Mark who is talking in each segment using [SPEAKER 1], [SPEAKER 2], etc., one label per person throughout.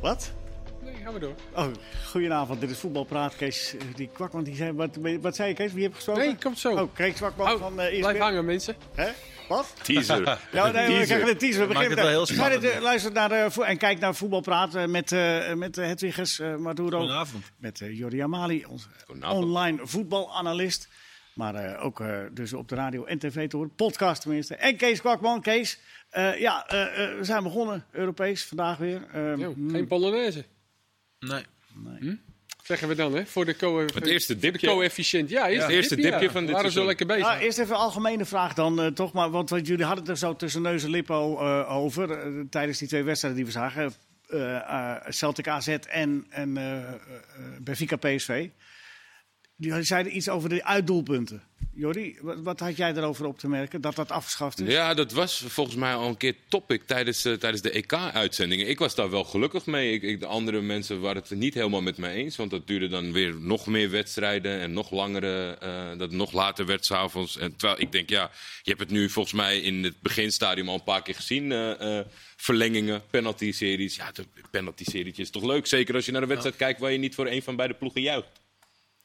[SPEAKER 1] Wat?
[SPEAKER 2] Nee, gaan we door.
[SPEAKER 1] Oh, goedenavond. Dit is Voetbalpraat. Kees, eh, die kwakman die zei... Wat, wat zei je, Kees? Wie heb je gesproken?
[SPEAKER 2] Nee, komt zo.
[SPEAKER 1] Oh, Kees Kwakman
[SPEAKER 2] Hou,
[SPEAKER 1] van eh ISB.
[SPEAKER 2] blijf hangen, mensen.
[SPEAKER 1] Hè? Wat?
[SPEAKER 3] Teaser.
[SPEAKER 1] Ja, nee, we
[SPEAKER 3] Teaser.
[SPEAKER 1] krijgen de teaser. We
[SPEAKER 3] Maakt
[SPEAKER 1] beginnen
[SPEAKER 3] het wel
[SPEAKER 1] daar.
[SPEAKER 3] heel spannend.
[SPEAKER 1] Maar, eh, luister naar, eh, vo- en kijk naar Voetbalpraat eh, met, eh met eh, Hedwiges, eh, Maduro.
[SPEAKER 3] Goedenavond.
[SPEAKER 1] Met eh Jordi Amali, onze online voetbalanalist. Maar eh, ook eh, dus op de radio en tv te horen. Podcast tenminste. En Kees Kwakman. Kees, eh, ja, eh, eh, we zijn begonnen. Europees vandaag weer. Ehm,
[SPEAKER 2] Jo,
[SPEAKER 1] hmm,
[SPEAKER 2] Geen Polonaise.
[SPEAKER 3] Nee.
[SPEAKER 2] Zeggen we dan, hè? Voor de co
[SPEAKER 4] Het eerste dipje.
[SPEAKER 2] coëfficiënt. Ja, eerst
[SPEAKER 4] Het eerste dipje van dit
[SPEAKER 2] Waren ze
[SPEAKER 4] seizoen.
[SPEAKER 2] lekker bezig.
[SPEAKER 1] nou, eerst even een algemene vraag dan eh, toch. Maar, want, want jullie hadden het er zo tussen neus en lippen al, eh, over. eh, tijdens die twee wedstrijden die we zagen. Eh, eh, Celtic AZ en, en eh, eh, eh, Benfica PSV. Jullie zeiden iets over de uitdoelpunten. Jordi, wat, wat had jij erover op te merken? Dat dat afgeschaft is?
[SPEAKER 4] Ja, dat was volgens mij al een keer topic tijdens, eh, tijdens de EK-uitzendingen. Ik was daar wel gelukkig mee. Ik, ik- de andere mensen waren het niet helemaal met mij eens. Want dat duurde dan weer nog meer wedstrijden en nog langere. eh, dat het nog later werd s'avonds. En terwijl ik denk, ja, je hebt het nu volgens mij in het beginstadium al een paar keer gezien. eh, eh, verlengingen, penalty-series. Ja, de penalty-serietje is toch leuk? Zeker als je naar een wedstrijd kijkt waar je niet voor een van beide ploegen juicht.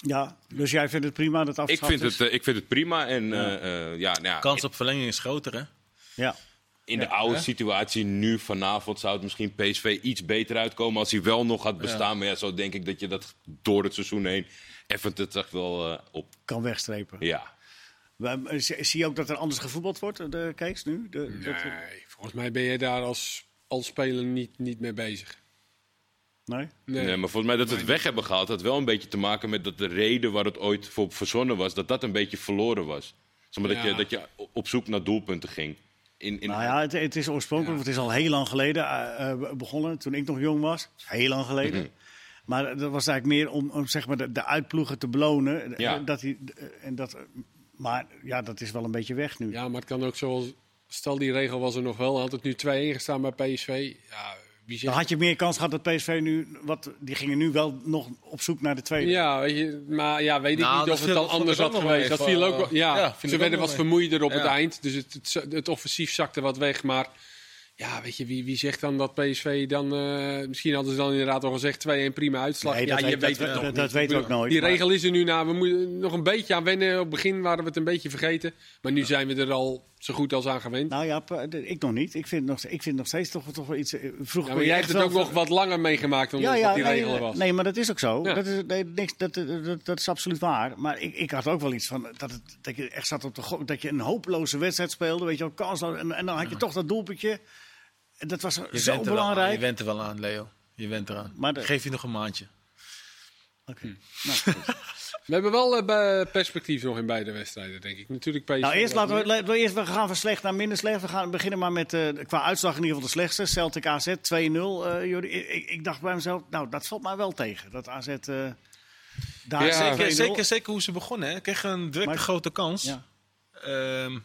[SPEAKER 1] Ja, dus jij vindt het prima dat
[SPEAKER 4] Ik
[SPEAKER 1] afgeschaft
[SPEAKER 4] vind,
[SPEAKER 1] is?
[SPEAKER 4] het, eh, ik vind het prima. En eh, eh, ja, nou ja,
[SPEAKER 3] Kans op verlenging is groter, hè?
[SPEAKER 4] eh,
[SPEAKER 1] Ja.
[SPEAKER 4] In de oude situatie nu vanavond zou het misschien PSV iets beter uitkomen als hij wel nog had bestaan. Maar ja, zo denk ik dat je dat door het seizoen heen effent het echt wel eh, op.
[SPEAKER 1] Kan wegstrepen.
[SPEAKER 4] Ja.
[SPEAKER 1] Maar, eh, Zie zie je ook dat er anders gevoetbald wordt, eh, de Kees, nu? De, dat-
[SPEAKER 2] Nee, volgens mij ben je daar als, als speler niet, niet mee bezig.
[SPEAKER 1] nee?
[SPEAKER 4] Nee.
[SPEAKER 2] Nee.
[SPEAKER 4] maar volgens mij dat we het weg hebben gehaald had wel een beetje te maken met dat de reden waar het ooit voor verzonnen was, dat dat een beetje verloren was. Zeg maar dat,
[SPEAKER 2] Ja.
[SPEAKER 4] je, dat je op zoek naar doelpunten ging. In, in,
[SPEAKER 1] Nou ja, het, het is oorspronkelijk, want het is al heel lang geleden eh, eh, begonnen, toen ik nog jong was. Heel lang geleden.
[SPEAKER 2] Mhm.
[SPEAKER 1] Maar eh, dat was eigenlijk meer om, om zeg maar de, de uitploegen te belonen.
[SPEAKER 4] Ja.
[SPEAKER 1] Eh, Dat die, eh, en dat, eh, maar ja, dat is wel een beetje weg nu.
[SPEAKER 2] Ja, maar het kan ook zoals... Stel, die regel was er nog wel. Had het nu 2-1 gestaan bij PSV. Ja, wie
[SPEAKER 1] Dan
[SPEAKER 2] zegt...
[SPEAKER 1] had je meer kans gehad dat PSV nu, wat, die gingen nu wel nog op zoek naar de tweede.
[SPEAKER 2] Ja, weet je, maar ja, weet ik
[SPEAKER 3] Nou,
[SPEAKER 2] niet
[SPEAKER 3] dat
[SPEAKER 2] of het
[SPEAKER 3] viel-
[SPEAKER 2] dan
[SPEAKER 3] vond
[SPEAKER 2] anders
[SPEAKER 3] ik
[SPEAKER 2] had
[SPEAKER 3] ook nog
[SPEAKER 2] geweest.
[SPEAKER 3] wel
[SPEAKER 2] Dat viel
[SPEAKER 3] even,
[SPEAKER 2] ook, wel-
[SPEAKER 3] eh,
[SPEAKER 2] ja,
[SPEAKER 3] ja, vind ik
[SPEAKER 2] ze
[SPEAKER 3] ook
[SPEAKER 2] werden
[SPEAKER 3] nog
[SPEAKER 2] wat
[SPEAKER 3] wel.
[SPEAKER 2] vermoeider op
[SPEAKER 3] Ja.
[SPEAKER 2] het eind. Dus het, het, het offensief zakte wat weg. Maar ja, weet je, wie, wie zegt dan dat PSV dan... eh, misschien hadden ze dan inderdaad al gezegd 2-1 prima uitslag.
[SPEAKER 1] Nee,
[SPEAKER 2] ja,
[SPEAKER 1] dat
[SPEAKER 2] je
[SPEAKER 1] weet-
[SPEAKER 2] weet
[SPEAKER 1] dat-
[SPEAKER 2] het nog
[SPEAKER 1] dat-
[SPEAKER 2] niet.
[SPEAKER 1] dat
[SPEAKER 2] Ik
[SPEAKER 1] weten we
[SPEAKER 2] bedoel,
[SPEAKER 1] ook nooit,
[SPEAKER 2] Die
[SPEAKER 1] maar-
[SPEAKER 2] regel is er nu na. We moeten nog een beetje aan wennen. Op het begin waren we het een beetje vergeten. Maar nu zijn we er al zo goed als aan gewend.
[SPEAKER 1] Nou ja, pa- de- ik nog niet. Ik vind nog, ik vind nog steeds toch, toch wel iets. eh, Vroeger
[SPEAKER 2] Ja,
[SPEAKER 1] kon
[SPEAKER 2] maar
[SPEAKER 1] je
[SPEAKER 2] jij
[SPEAKER 1] echt
[SPEAKER 2] hebt het
[SPEAKER 1] wel-
[SPEAKER 2] ook nog wat langer meegemaakt dan
[SPEAKER 1] Ja,
[SPEAKER 2] dat
[SPEAKER 1] ja,
[SPEAKER 2] die
[SPEAKER 1] nee,
[SPEAKER 2] regel was.
[SPEAKER 1] nee, maar dat is ook zo.
[SPEAKER 2] Ja.
[SPEAKER 1] Dat, is, nee, niks, dat, dat, dat, dat is absoluut waar. Maar ik, ik had ook wel iets van dat, het, dat je echt zat op de gok- dat je een hopeloze wedstrijd speelde, weet je wel, kansloos. En, en dan had je toch dat doelpuntje. En Dat was
[SPEAKER 3] Je
[SPEAKER 1] zo
[SPEAKER 3] went er wel aan,
[SPEAKER 1] belangrijk.
[SPEAKER 3] Je went er wel aan, Leo. Je went eraan.
[SPEAKER 1] Maar de-
[SPEAKER 3] Geef je nog een maandje.
[SPEAKER 1] Oké.
[SPEAKER 3] Hm.
[SPEAKER 1] Nou, goed.
[SPEAKER 2] We hebben wel eh, bij- perspectief nog in beide wedstrijden, denk ik. Natuurlijk PSV.
[SPEAKER 1] nou, eerst
[SPEAKER 2] wat
[SPEAKER 1] laten we,
[SPEAKER 2] meer.
[SPEAKER 1] laten we eerst we gaan van slecht naar minder slecht. We gaan beginnen maar met eh, qua uitslag in ieder geval de slechtste. Celtic AZ 2-0. eh, Jordi. ik, ik- ik dacht bij mezelf, nou dat valt mij wel tegen. Dat AZ eh daar
[SPEAKER 4] Ja,
[SPEAKER 3] zeker,
[SPEAKER 1] 2-0.
[SPEAKER 3] zeker, zeker hoe ze begonnen, hè? Kreeg een directe
[SPEAKER 1] Maar-
[SPEAKER 3] grote kans.
[SPEAKER 1] Ja.
[SPEAKER 3] Ehm,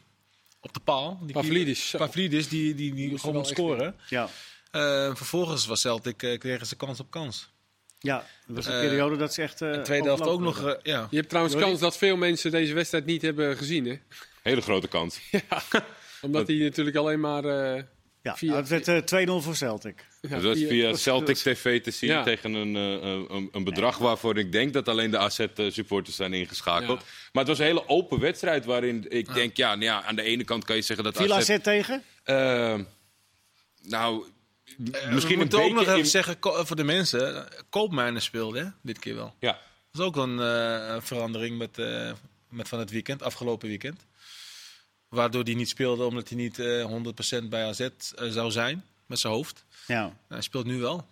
[SPEAKER 3] op de paal. Die
[SPEAKER 2] Pavlidis, zo.
[SPEAKER 3] Pavlidis, die, die, die
[SPEAKER 2] Moest
[SPEAKER 3] gewoon
[SPEAKER 2] er
[SPEAKER 3] moet
[SPEAKER 2] wel echt
[SPEAKER 3] scoren.
[SPEAKER 1] Ja.
[SPEAKER 3] Eh, vervolgens was Celtic, eh, kregen ze kans op kans.
[SPEAKER 1] Ja, dat was een
[SPEAKER 3] Eh,
[SPEAKER 1] periode dat ze echt. eh,
[SPEAKER 3] De tweede helft ook
[SPEAKER 1] overlopen
[SPEAKER 3] nog,
[SPEAKER 1] werden.
[SPEAKER 3] eh, ja.
[SPEAKER 2] Je hebt trouwens
[SPEAKER 1] Jordi?
[SPEAKER 2] kans dat veel mensen deze wedstrijd niet hebben gezien, hè?
[SPEAKER 4] Hele grote kans.
[SPEAKER 2] Omdat die natuurlijk alleen maar... eh,
[SPEAKER 1] Ja,
[SPEAKER 2] via-
[SPEAKER 1] nou, het werd eh, 2-0 voor Celtic.
[SPEAKER 2] ja,
[SPEAKER 4] Dus dat was
[SPEAKER 2] die- eh,
[SPEAKER 4] via Celtic TV te zien
[SPEAKER 2] Ja.
[SPEAKER 4] tegen een, eh, eh, een, een bedrag waarvoor ik denk dat alleen de AZ-supporters zijn ingeschakeld.
[SPEAKER 2] Ja.
[SPEAKER 4] Maar het was een hele open wedstrijd waarin ik denk, ja, nou ja, aan de ene kant kan je zeggen dat
[SPEAKER 1] Viel
[SPEAKER 4] AZ
[SPEAKER 1] AZ tegen?
[SPEAKER 4] Eh, nou,
[SPEAKER 3] Eh,
[SPEAKER 4] misschien
[SPEAKER 3] we
[SPEAKER 4] een
[SPEAKER 3] moeten
[SPEAKER 4] beetje
[SPEAKER 3] ook nog even
[SPEAKER 4] in-
[SPEAKER 3] zeggen, ko- eh, voor de mensen, eh, Koopmijnen speelde hè, dit keer wel.
[SPEAKER 4] Ja,
[SPEAKER 3] Dat is ook wel een eh, verandering met, eh, met van het weekend, afgelopen weekend. Waardoor hij niet speelde omdat hij niet eh, 100% bij AZ zou zijn met zijn hoofd. Nou,
[SPEAKER 1] Ja.
[SPEAKER 3] Hij speelt nu wel.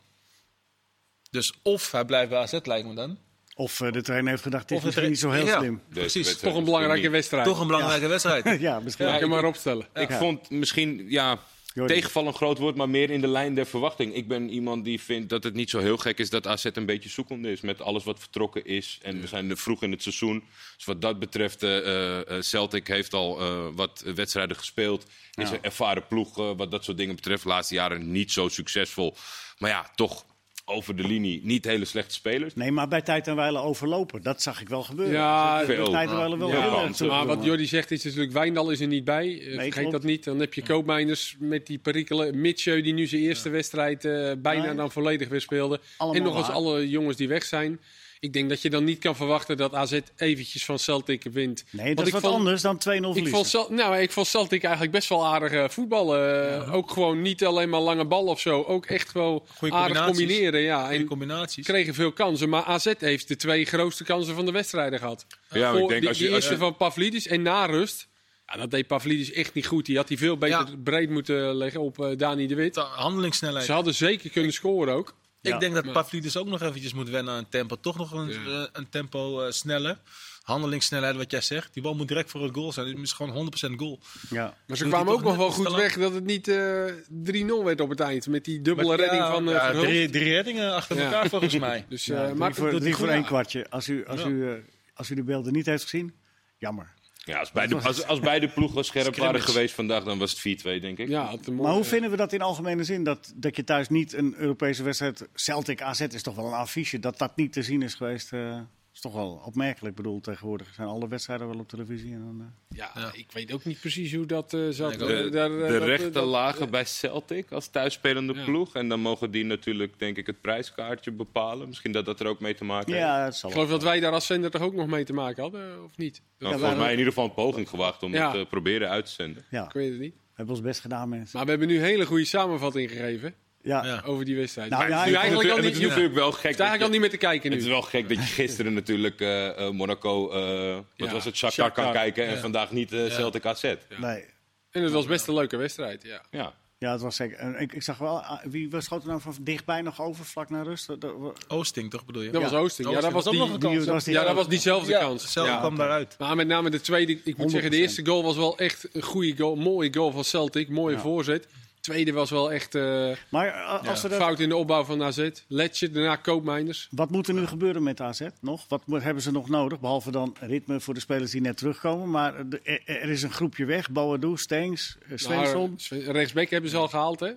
[SPEAKER 3] Dus of hij blijft bij AZ lijkt me dan.
[SPEAKER 1] Of eh, de trainer heeft gedacht, dit is
[SPEAKER 3] of het
[SPEAKER 1] misschien
[SPEAKER 3] er-
[SPEAKER 1] niet zo heel
[SPEAKER 3] Ja,
[SPEAKER 1] slim.
[SPEAKER 4] Deze
[SPEAKER 3] Precies.
[SPEAKER 4] wedstrijd.
[SPEAKER 2] Toch een belangrijke wedstrijd.
[SPEAKER 3] Toch een belangrijke wedstrijd.
[SPEAKER 1] ja, misschien.
[SPEAKER 2] Laat
[SPEAKER 1] Ja,
[SPEAKER 2] ik hem maar opstellen.
[SPEAKER 4] ik vond misschien, ja,
[SPEAKER 1] Jordi.
[SPEAKER 4] tegenval een groot woord, maar meer in de lijn der verwachting. Ik ben iemand die vindt dat het niet zo heel gek is dat AZ een beetje zoekende is met alles wat vertrokken is. En we zijn er vroeg in het seizoen. Dus wat dat betreft, eh, eh, Celtic heeft al eh, wat wedstrijden gespeeld. Is
[SPEAKER 1] Ja.
[SPEAKER 4] een ervaren ploeg eh, wat dat soort dingen betreft. Laatste jaren niet zo succesvol. Maar ja, toch over de linie niet hele slechte spelers.
[SPEAKER 1] Nee, maar bij tijd en wijle overlopen. Dat zag ik wel gebeuren.
[SPEAKER 2] Ja,
[SPEAKER 1] Bij
[SPEAKER 4] veel.
[SPEAKER 1] tijd en wijle wel
[SPEAKER 4] Ja,
[SPEAKER 1] heel erg
[SPEAKER 4] want,
[SPEAKER 1] terug.
[SPEAKER 2] Maar wat Jordi zegt is natuurlijk, Wijndal is er niet bij. Eh, Vergeet
[SPEAKER 1] klopt.
[SPEAKER 2] dat niet. Dan heb je Koopmijners met die perikelen. Mitchell die nu zijn eerste wedstrijd eh, bijna
[SPEAKER 1] Nee.
[SPEAKER 2] dan volledig weer speelde.
[SPEAKER 1] Allemaal
[SPEAKER 2] en nog eens
[SPEAKER 1] waar.
[SPEAKER 2] alle jongens die weg zijn. Ik denk dat je dan niet kan verwachten dat AZ eventjes van Celtic wint.
[SPEAKER 1] Nee,
[SPEAKER 2] Want
[SPEAKER 1] dat is
[SPEAKER 2] ik
[SPEAKER 1] wat
[SPEAKER 2] vond-
[SPEAKER 1] anders dan 2-0 verliezen.
[SPEAKER 2] Ik vond, Cel- nou, ik vond Celtic eigenlijk best wel aardig eh, voetballen. Eh, Ook gewoon niet alleen maar lange bal of zo. Ook echt wel
[SPEAKER 3] Goeie
[SPEAKER 2] aardig
[SPEAKER 3] combinaties.
[SPEAKER 2] combineren. Ja.
[SPEAKER 3] Goede
[SPEAKER 2] En
[SPEAKER 3] combinaties.
[SPEAKER 2] kregen veel kansen. Maar AZ heeft de twee grootste kansen van de wedstrijden gehad.
[SPEAKER 4] Ja, maar
[SPEAKER 2] Voor
[SPEAKER 4] ik denk
[SPEAKER 2] die,
[SPEAKER 4] als je,
[SPEAKER 2] die
[SPEAKER 4] als
[SPEAKER 2] eerste
[SPEAKER 4] je,
[SPEAKER 2] van Pavlidis en na rust. Ja, dat deed Pavlidis echt niet goed. Die had hij veel beter
[SPEAKER 3] Ja.
[SPEAKER 2] breed moeten leggen op eh, Dani de Wit.
[SPEAKER 3] Ta- Handelingssnelheid.
[SPEAKER 2] Ze hadden zeker kunnen scoren ook.
[SPEAKER 1] Ja.
[SPEAKER 3] Ik denk dat Pavlidis ook nog eventjes moet wennen aan tempo. Toch nog een, eh, een tempo eh, sneller. Handelingssnelheid, wat jij zegt. Die bal moet direct voor het goal zijn. Dus Het is gewoon 100% goal.
[SPEAKER 1] Ja.
[SPEAKER 2] Maar ze
[SPEAKER 3] Doet
[SPEAKER 2] kwamen
[SPEAKER 3] hij
[SPEAKER 2] ook nog
[SPEAKER 3] toch
[SPEAKER 2] wel
[SPEAKER 3] net
[SPEAKER 2] goed
[SPEAKER 3] te lang?
[SPEAKER 2] weg dat het niet eh, 3-0 werd op het eind. Met die dubbele
[SPEAKER 3] Maar-
[SPEAKER 2] redding
[SPEAKER 3] ja,
[SPEAKER 2] van eh
[SPEAKER 3] ja,
[SPEAKER 2] Verhulst.
[SPEAKER 3] drie, drie reddingen achter
[SPEAKER 2] Ja.
[SPEAKER 3] elkaar volgens mij.
[SPEAKER 2] Dus,
[SPEAKER 1] Ja,
[SPEAKER 2] eh,
[SPEAKER 1] drie
[SPEAKER 2] maar
[SPEAKER 1] voor,
[SPEAKER 3] doet hij
[SPEAKER 1] drie voor
[SPEAKER 3] goed.
[SPEAKER 1] één
[SPEAKER 3] Ja.
[SPEAKER 1] kwartje. Als u, als,
[SPEAKER 3] Ja.
[SPEAKER 1] u, eh, als u de beelden niet heeft gezien, jammer.
[SPEAKER 4] ja, als, beide, als, als beide ploegen scherp waren
[SPEAKER 3] Scrimmage.
[SPEAKER 4] geweest vandaag, dan was het 4-2, denk ik.
[SPEAKER 2] ja, had eh, een
[SPEAKER 1] Maar
[SPEAKER 2] mooie-
[SPEAKER 1] hoe vinden we dat in algemene zin? Dat, dat je thuis niet een Europese wedstrijd... Celtic AZ is toch wel een affiche. Dat dat niet te zien is geweest, eh, is toch wel opmerkelijk. Ik bedoel, tegenwoordig zijn alle wedstrijden wel op televisie. En dan, eh,
[SPEAKER 2] Ja,
[SPEAKER 3] Ja.
[SPEAKER 2] ik weet ook niet precies hoe dat eh, zat.
[SPEAKER 3] ik ook.
[SPEAKER 4] De,
[SPEAKER 2] Eh, daar, eh,
[SPEAKER 4] de
[SPEAKER 2] dat-
[SPEAKER 4] rechte
[SPEAKER 2] dat-
[SPEAKER 4] lagen bij Celtic als thuisspelende
[SPEAKER 2] Ja.
[SPEAKER 4] ploeg. En dan mogen die natuurlijk, denk ik, het prijskaartje bepalen. Misschien dat dat er ook mee te maken heeft.
[SPEAKER 1] ja, het zal
[SPEAKER 2] Ik
[SPEAKER 1] wel.
[SPEAKER 2] geloof dat wij daar als zender toch ook nog mee te maken hadden, eh, of niet?
[SPEAKER 4] Nou,
[SPEAKER 1] Ja,
[SPEAKER 4] volgens
[SPEAKER 1] maar-
[SPEAKER 4] mij in ieder geval een poging gewaagd om
[SPEAKER 2] Ja.
[SPEAKER 4] het eh, proberen uit te zenden.
[SPEAKER 1] Ja,
[SPEAKER 2] Ik
[SPEAKER 1] we
[SPEAKER 2] weet het niet.
[SPEAKER 1] hebben ons best gedaan, mensen.
[SPEAKER 2] Maar we hebben nu een hele goede samenvatting gegeven
[SPEAKER 1] Ja,
[SPEAKER 3] Ja.
[SPEAKER 2] over die wedstrijd.
[SPEAKER 1] Nou,
[SPEAKER 2] Maar
[SPEAKER 1] ja,
[SPEAKER 2] het is
[SPEAKER 1] ik
[SPEAKER 2] nu
[SPEAKER 1] vond
[SPEAKER 2] eigenlijk al
[SPEAKER 4] het
[SPEAKER 2] niet,
[SPEAKER 4] is
[SPEAKER 2] je hoeft
[SPEAKER 4] natuurlijk wel gek. dat
[SPEAKER 2] eigenlijk al
[SPEAKER 4] je-
[SPEAKER 2] niet meer te kijken
[SPEAKER 4] Het is
[SPEAKER 2] nu.
[SPEAKER 4] wel gek dat je gisteren natuurlijk eh, eh, Monaco, eh, wat
[SPEAKER 2] Ja,
[SPEAKER 4] was het, Shakhtar
[SPEAKER 2] Shakhtar.
[SPEAKER 4] kan kijken en vandaag niet eh, Celtic AZ. Ja.
[SPEAKER 1] nee.
[SPEAKER 2] En het was best een leuke wedstrijd, ja.
[SPEAKER 1] Ja, het was zeker. en Ik, ik zag wel, ah, wie was schoot er nou van dichtbij nog over, vlak naar rust? Dat- dat-
[SPEAKER 3] Oosting, toch bedoel je?
[SPEAKER 2] Dat was Oosting. Ja,
[SPEAKER 3] Oosting
[SPEAKER 2] dat was
[SPEAKER 3] was ook nog
[SPEAKER 2] die,
[SPEAKER 3] een
[SPEAKER 1] die
[SPEAKER 2] die-
[SPEAKER 1] was die-
[SPEAKER 2] ja, dat was diezelfde
[SPEAKER 3] Ja,
[SPEAKER 2] kans.
[SPEAKER 3] Zelf
[SPEAKER 4] Ja.
[SPEAKER 3] kwam daaruit.
[SPEAKER 2] Maar met name de tweede, ik moet zeggen, de
[SPEAKER 1] 100%.
[SPEAKER 2] eerste goal was wel echt een goede goal. Mooie goal van Celtic, mooie
[SPEAKER 1] Ja.
[SPEAKER 2] voorzet. Tweede was wel echt eh,
[SPEAKER 1] Maar eh, als we dat,
[SPEAKER 2] fout in de opbouw van AZ. Letje, daarna Koopmijners.
[SPEAKER 1] wat moet er nu gebeuren met AZ nog? Wat moet- hebben ze nog nodig? Behalve dan ritme voor de spelers die net terugkomen. Maar eh, de- er, er is een groepje weg. Boadou, Stengs, eh, Svensson.
[SPEAKER 2] Maar Sven- Nou, Rechtsback hebben ze al gehaald, hè?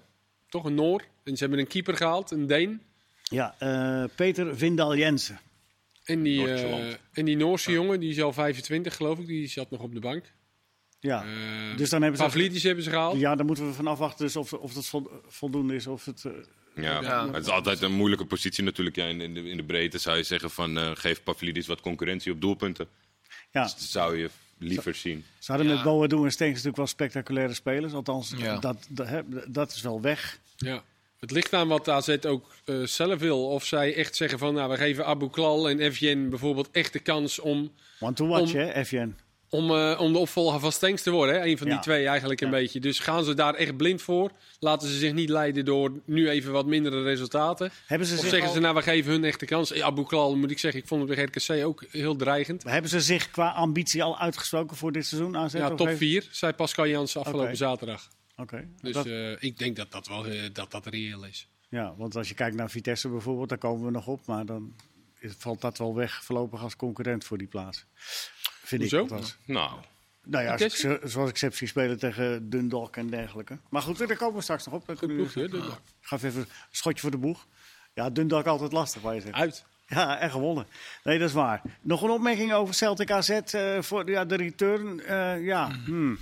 [SPEAKER 2] Toch een Noor. En ze hebben een keeper gehaald, een Deen.
[SPEAKER 1] Ja, eh, Peter Vindal Jensen.
[SPEAKER 2] En die, eh,
[SPEAKER 4] Noord-Zeeland.
[SPEAKER 2] en die Noorse jongen, die is al 25, geloof ik. Die zat nog op de bank.
[SPEAKER 1] Ja.
[SPEAKER 2] Eh,
[SPEAKER 1] dus dan hebben ze...
[SPEAKER 2] Pavlidis hebben ze gehaald.
[SPEAKER 1] Ja, daar moeten we van afwachten dus of, of dat vol- voldoende is. Of het, eh,
[SPEAKER 4] Ja, maar het is altijd een moeilijke positie natuurlijk. Ja, in, in de, in de breedte zou je zeggen van eh, geef Pavlidis wat concurrentie op doelpunten.
[SPEAKER 1] ja.
[SPEAKER 4] Dat zou je liever zien.
[SPEAKER 1] Ze hadden met Boadou en Stengs natuurlijk wel spectaculaire spelers. Althans,
[SPEAKER 3] Ja.
[SPEAKER 1] dat, dat, hè, dat is wel weg.
[SPEAKER 2] Ja. Het ligt aan wat AZ ook eh, zelf wil. Of zij echt zeggen van, nou, we geven Abu Klal en FJN bijvoorbeeld echt de kans om,
[SPEAKER 1] Want to watch,
[SPEAKER 2] Om-
[SPEAKER 1] hè, FJN.
[SPEAKER 2] om, eh, om de opvolger van Stenks te worden. Hè? Een van
[SPEAKER 1] Ja.
[SPEAKER 2] die twee eigenlijk een
[SPEAKER 1] Ja.
[SPEAKER 2] beetje. Dus gaan ze daar echt blind voor? Laten ze zich niet leiden door nu even wat mindere resultaten?
[SPEAKER 1] Hebben ze,
[SPEAKER 2] Of
[SPEAKER 1] zich
[SPEAKER 2] zeggen
[SPEAKER 1] al-
[SPEAKER 2] ze, nou, we geven hun echt de kans. Eh, Abu Klal, moet ik zeggen, ik vond het bij RKC ook heel dreigend.
[SPEAKER 1] hebben ze zich qua ambitie al uitgesproken voor dit seizoen? AZ
[SPEAKER 2] Ja,
[SPEAKER 1] of
[SPEAKER 2] top
[SPEAKER 1] heeft-
[SPEAKER 2] 4, zei Pascal Jansen afgelopen
[SPEAKER 1] Oké.
[SPEAKER 2] zaterdag.
[SPEAKER 1] Oké.
[SPEAKER 2] Dus
[SPEAKER 1] Dat-
[SPEAKER 2] eh, ik denk dat dat wel eh, dat dat reëel is.
[SPEAKER 1] Ja, want als je kijkt naar Vitesse bijvoorbeeld, daar komen we nog op. Maar dan is- valt dat wel weg voorlopig als concurrent voor die plaats. Vind
[SPEAKER 2] Hoezo?
[SPEAKER 1] ik dat.
[SPEAKER 4] Nou,
[SPEAKER 1] Nou ja, als ik,
[SPEAKER 2] Vitesse?
[SPEAKER 1] ze- zoals ik ze spelen tegen Dundalk en dergelijke. Maar goed, daar komen we straks nog op. Dan
[SPEAKER 2] Goed
[SPEAKER 1] kunnen we-
[SPEAKER 2] ploegje, hè, Dundalk.
[SPEAKER 1] Gaf even een schotje voor de boeg. Ja, Dundalk altijd lastig, waar je
[SPEAKER 3] Ah.
[SPEAKER 1] zegt.
[SPEAKER 2] Uit.
[SPEAKER 1] Ja, en gewonnen. Nee, dat is waar. Nog een opmerking over Celtic AZ eh, voor ja, de return. eh, ja,
[SPEAKER 3] Mhm.
[SPEAKER 1] hmm.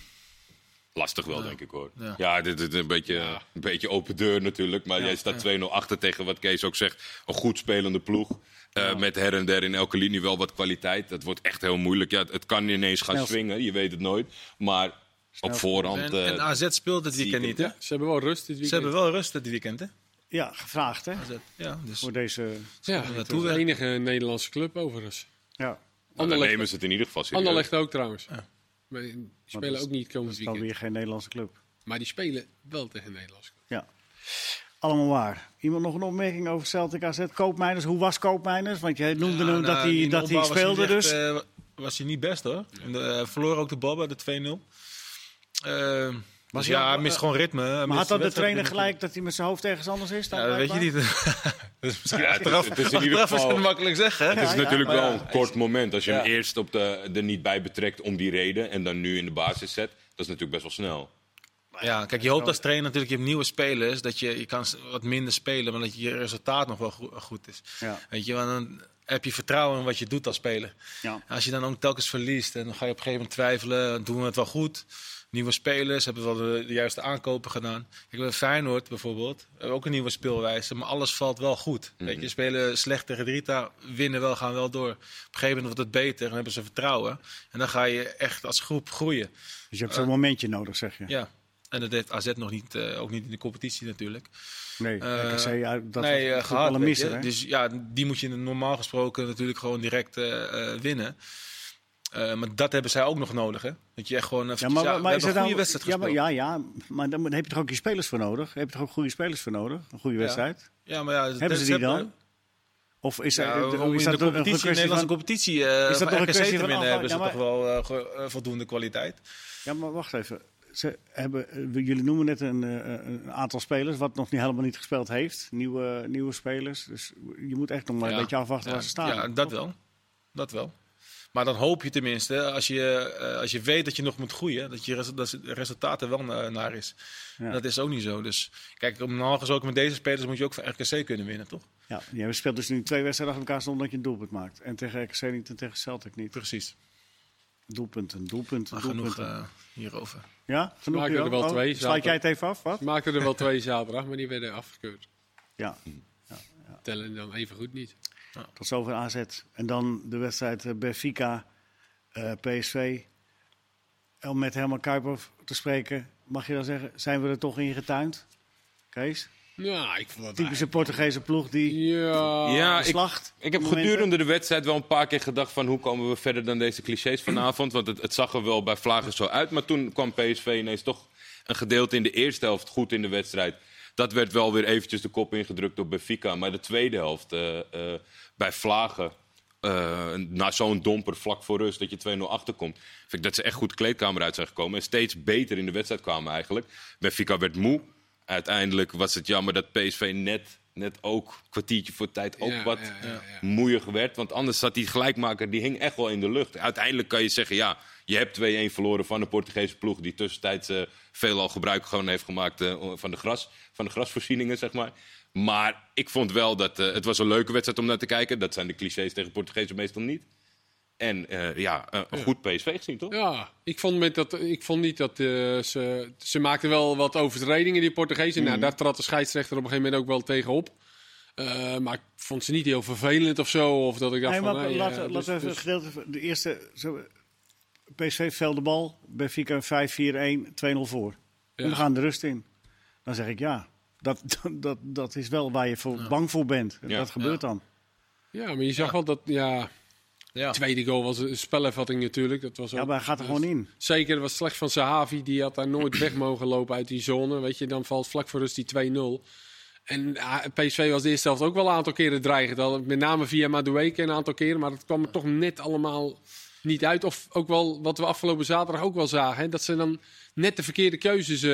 [SPEAKER 4] lastig wel, denk ik hoor. Ja,
[SPEAKER 3] Ja.
[SPEAKER 4] dit is een beetje, een beetje open deur natuurlijk. Maar jij staat 2-0 achter tegen wat Kees ook zegt. Een goed spelende ploeg. Eh, Met her en der in elke linie wel wat kwaliteit. Dat wordt echt heel moeilijk. Ja, het, het kan ineens gaan
[SPEAKER 1] Snel.
[SPEAKER 4] swingen, je weet het nooit. Maar op voorhand...
[SPEAKER 3] En,
[SPEAKER 4] eh,
[SPEAKER 3] en AZ speelt dit weekend
[SPEAKER 4] Zieken.
[SPEAKER 3] niet, hè?
[SPEAKER 2] Ja, ze hebben wel rust dit weekend.
[SPEAKER 3] Ze hebben wel rust dit weekend, hè?
[SPEAKER 1] ja gevraagd hè,
[SPEAKER 3] AZ. Ja, dus
[SPEAKER 1] voor deze...
[SPEAKER 2] Ja,
[SPEAKER 3] Ja,
[SPEAKER 2] het is
[SPEAKER 3] toe
[SPEAKER 2] de
[SPEAKER 3] wel.
[SPEAKER 2] enige Nederlandse club overigens.
[SPEAKER 1] Ja,
[SPEAKER 4] nou, dan
[SPEAKER 2] Anderlecht-
[SPEAKER 4] nemen ze het in ieder geval serieus.
[SPEAKER 2] Anderlecht ook trouwens. Maar die
[SPEAKER 1] Maar dat
[SPEAKER 2] spelen
[SPEAKER 1] is-
[SPEAKER 2] ook niet komend
[SPEAKER 1] dan
[SPEAKER 2] weekend.
[SPEAKER 1] weer geen Nederlandse club.
[SPEAKER 2] Maar die spelen wel tegen een Nederlandse club.
[SPEAKER 1] Ja. Allemaal waar. Iemand nog een opmerking over Celtic AZ? Koopmijners, hoe was Koopmijners? Want jij noemde
[SPEAKER 3] Ja,
[SPEAKER 1] hem
[SPEAKER 3] nou,
[SPEAKER 1] dat
[SPEAKER 3] in
[SPEAKER 1] hij,
[SPEAKER 3] de
[SPEAKER 1] dat hij
[SPEAKER 3] opbouw was
[SPEAKER 1] speelde
[SPEAKER 3] niet
[SPEAKER 1] dus.
[SPEAKER 3] echt, eh, was hij niet best, hoor. En, eh, verloor ook de bal bij de 2-0. Ehm, dus
[SPEAKER 1] hij
[SPEAKER 3] ja,
[SPEAKER 1] al-
[SPEAKER 3] hij mist gewoon ritme. hè. Hij
[SPEAKER 1] maar had
[SPEAKER 3] mist
[SPEAKER 1] dat de
[SPEAKER 3] wedstrijd-
[SPEAKER 1] trainer gelijk dat hij met zijn hoofd ergens anders is? dan
[SPEAKER 3] Ja, dat weet je
[SPEAKER 1] blijkbaar?
[SPEAKER 3] niet. dat is misschien
[SPEAKER 4] Ja, het is-
[SPEAKER 3] achteraf,
[SPEAKER 4] het is in ieder
[SPEAKER 3] achteraf
[SPEAKER 4] geval-
[SPEAKER 3] het makkelijk zeggen. hè?
[SPEAKER 4] Het is
[SPEAKER 1] ja,
[SPEAKER 4] natuurlijk
[SPEAKER 3] maar
[SPEAKER 4] wel
[SPEAKER 3] ja,
[SPEAKER 4] een kort moment. Als je hem
[SPEAKER 3] Ja.
[SPEAKER 4] eerst op de, er niet bij betrekt om die reden en dan nu in de basis zet, dat is natuurlijk best wel snel.
[SPEAKER 3] Ja, kijk, je hoopt als trainer natuurlijk, je hebt nieuwe spelers, dat je, je kan s- wat minder spelen, maar dat je resultaat nog wel go- goed is.
[SPEAKER 1] Ja.
[SPEAKER 3] Weet je, want dan heb je vertrouwen in wat je doet als speler.
[SPEAKER 1] Ja.
[SPEAKER 3] Als je dan ook telkens verliest en dan ga je op een gegeven moment twijfelen, doen we het wel goed? Nieuwe spelers, hebben we wel de, de juiste aankopen gedaan? Kijk, bij Feyenoord bijvoorbeeld, hebben we ook een nieuwe speelwijze, maar alles valt wel goed. Weet
[SPEAKER 4] Mhm.
[SPEAKER 3] je, spelen slecht tegen Drita, winnen wel, gaan wel door. Op een gegeven moment wordt het beter en hebben ze vertrouwen. En dan ga je echt als groep groeien.
[SPEAKER 1] Dus je hebt zo'n momentje nodig, zeg je.
[SPEAKER 3] Eh, Ja, en dat heeft AZ nog niet, eh, ook niet in de competitie natuurlijk.
[SPEAKER 1] Nee,
[SPEAKER 3] Eh,
[SPEAKER 1] ik zei, ja, dat
[SPEAKER 3] nee, eh,
[SPEAKER 1] was
[SPEAKER 3] gehad,
[SPEAKER 1] alle
[SPEAKER 3] weet
[SPEAKER 1] missen.
[SPEAKER 3] je.
[SPEAKER 1] hè?
[SPEAKER 3] Dus ja, die moet je normaal gesproken natuurlijk gewoon direct eh, eh, winnen. Eh, maar dat hebben zij ook nog nodig, hè? Dat je echt gewoon even...
[SPEAKER 1] ja, maar,
[SPEAKER 3] ja,
[SPEAKER 1] maar
[SPEAKER 3] we
[SPEAKER 1] is het
[SPEAKER 3] hebben een
[SPEAKER 1] dan-
[SPEAKER 3] goede wedstrijd
[SPEAKER 1] ja, maar,
[SPEAKER 3] gespeeld. Ja,
[SPEAKER 1] ja, ja, maar dan moet- heb je toch ook je spelers voor nodig? Heb je toch ook goede spelers voor nodig? Een goede
[SPEAKER 3] Ja.
[SPEAKER 1] wedstrijd?
[SPEAKER 3] maar ja... dat-
[SPEAKER 1] Hebben ze
[SPEAKER 3] dat-
[SPEAKER 1] die dan? Of is,
[SPEAKER 3] Ja,
[SPEAKER 1] er-
[SPEAKER 3] ook
[SPEAKER 1] is
[SPEAKER 3] in
[SPEAKER 1] dat
[SPEAKER 3] de
[SPEAKER 1] een- een
[SPEAKER 3] competitie, in de
[SPEAKER 1] kwestie van...
[SPEAKER 3] Nederlandse competitie, eh
[SPEAKER 1] dat
[SPEAKER 3] van
[SPEAKER 1] toch een
[SPEAKER 3] RKC
[SPEAKER 1] kwestie
[SPEAKER 3] te
[SPEAKER 1] van
[SPEAKER 3] winnen, hebben ze
[SPEAKER 1] afwa-
[SPEAKER 3] toch wel eh, ge- eh, voldoende kwaliteit.
[SPEAKER 1] Ja, maar wacht even. Ze hebben, eh, we- jullie noemen net een, eh, een aantal spelers wat nog niet, helemaal niet gespeeld heeft. Nieuwe, nieuwe spelers. Dus je moet echt nog maar een
[SPEAKER 3] Ja.
[SPEAKER 1] beetje afwachten waar ze staan.
[SPEAKER 3] Ja, dat wel. Dat wel. Maar dan hoop je tenminste, als je, eh, als je weet dat je nog moet groeien, dat je resu- dat de resultaten wel na- naar is.
[SPEAKER 1] Ja.
[SPEAKER 3] Dat is ook niet zo. Dus kijk, om normaal gesproken met deze spelers moet je ook van RKC kunnen winnen, toch?
[SPEAKER 1] Ja, jij speelt dus nu twee wedstrijden achter elkaar zonder dat je een doelpunt maakt. En tegen RKC niet en tegen Celtic niet.
[SPEAKER 3] Precies.
[SPEAKER 1] Doelpunten, doelpunten,
[SPEAKER 3] Maar
[SPEAKER 1] doelpunten.
[SPEAKER 3] genoeg eh, hierover.
[SPEAKER 1] ja, genoeg
[SPEAKER 2] Maken Mm. we er
[SPEAKER 1] joh?
[SPEAKER 2] wel twee,
[SPEAKER 1] Sluit jij
[SPEAKER 2] zaterdag.
[SPEAKER 1] het even af? Wat?
[SPEAKER 2] Ze maakten er wel twee zaterdag, maar die werden afgekeurd.
[SPEAKER 1] Ja,
[SPEAKER 2] Tellen dan even goed niet.
[SPEAKER 1] tot zover AZ. En dan de wedstrijd eh, Benfica, eh, PSV. Om met Herman Kuiper te spreken, mag je dan zeggen, zijn we er toch in getuind? Kees?
[SPEAKER 2] Nou, ik vond dat
[SPEAKER 1] Typische Portugese ploeg die
[SPEAKER 2] Ja.
[SPEAKER 4] ja, ik,
[SPEAKER 1] slacht.
[SPEAKER 4] ik heb
[SPEAKER 1] momenten.
[SPEAKER 4] gedurende de wedstrijd wel een paar keer gedacht van hoe komen we verder dan deze clichés vanavond. Want het, het zag er wel bij Vlagen zo uit. Maar toen kwam PSV ineens toch een gedeelte in de eerste helft goed in de wedstrijd. Dat werd wel weer eventjes de kop ingedrukt door Benfica. Maar de tweede helft eh, eh, bij Vlagen, eh, na zo'n domper vlak voor rust dat je 2-0 achterkomt. Vind ik dat ze echt goed de kleedkamer uit zijn gekomen. En steeds beter in de wedstrijd kwamen eigenlijk. Benfica werd moe. Uiteindelijk was het jammer dat PSV net, net ook een kwartiertje voor tijd ook
[SPEAKER 2] Ja,
[SPEAKER 4] wat
[SPEAKER 2] ja, ja, ja.
[SPEAKER 4] moeier werd. Want anders zat die gelijkmaker, die hing echt wel in de lucht. Uiteindelijk kan je zeggen, ja, je hebt 2-1 verloren van de Portugese ploeg... die tussentijds eh, veelal gebruik gewoon heeft gemaakt eh, van, de gras, van de grasvoorzieningen, zeg maar. Maar ik vond wel dat eh, het was een leuke wedstrijd om naar te kijken. Dat zijn de clichés tegen Portugezen meestal niet. En eh, ja, eh, een goed PSV gezien, toch?
[SPEAKER 2] Ja, ik vond, met dat, ik vond niet dat eh, ze... Ze maakten wel wat overtredingen, die Portugezen. Nou, daar trad de scheidsrechter op een gegeven moment ook wel tegen op. Eh, maar ik vond ze niet heel vervelend of zo. Of dat ik dacht
[SPEAKER 1] Nee, maar
[SPEAKER 2] van... hey,
[SPEAKER 1] laten
[SPEAKER 2] eh,
[SPEAKER 1] laten
[SPEAKER 2] dus-
[SPEAKER 1] we even
[SPEAKER 2] dus-
[SPEAKER 1] gedeelte van de eerste. Zo, PSV velde bal, Benfica 5-4-1, 2-0 voor. En we
[SPEAKER 2] Ja.
[SPEAKER 1] gaan de rust in. Dan zeg ik ja, dat, dat, dat is wel waar je voor, bang voor bent. En
[SPEAKER 4] Ja.
[SPEAKER 1] dat gebeurt dan.
[SPEAKER 2] Ja, maar je zag wel dat... Ja,
[SPEAKER 3] Ja.
[SPEAKER 2] tweede goal was een spelervatting natuurlijk. Dat was
[SPEAKER 1] Ja,
[SPEAKER 2] ook-
[SPEAKER 1] maar hij gaat er gewoon in.
[SPEAKER 2] Zeker, het was slecht van Sahavi. Die had daar nooit weg mogen lopen uit die zone. Weet je, dan valt vlak voor rust die 2-0. En ah, PSV was de eerste helft ook wel een aantal keren dreigend. Al Met name via Madueke een aantal keren. Maar dat kwam er toch net allemaal niet uit. Of ook wel wat we afgelopen zaterdag ook wel zagen. Hè, dat ze dan net de verkeerde keuzes... eh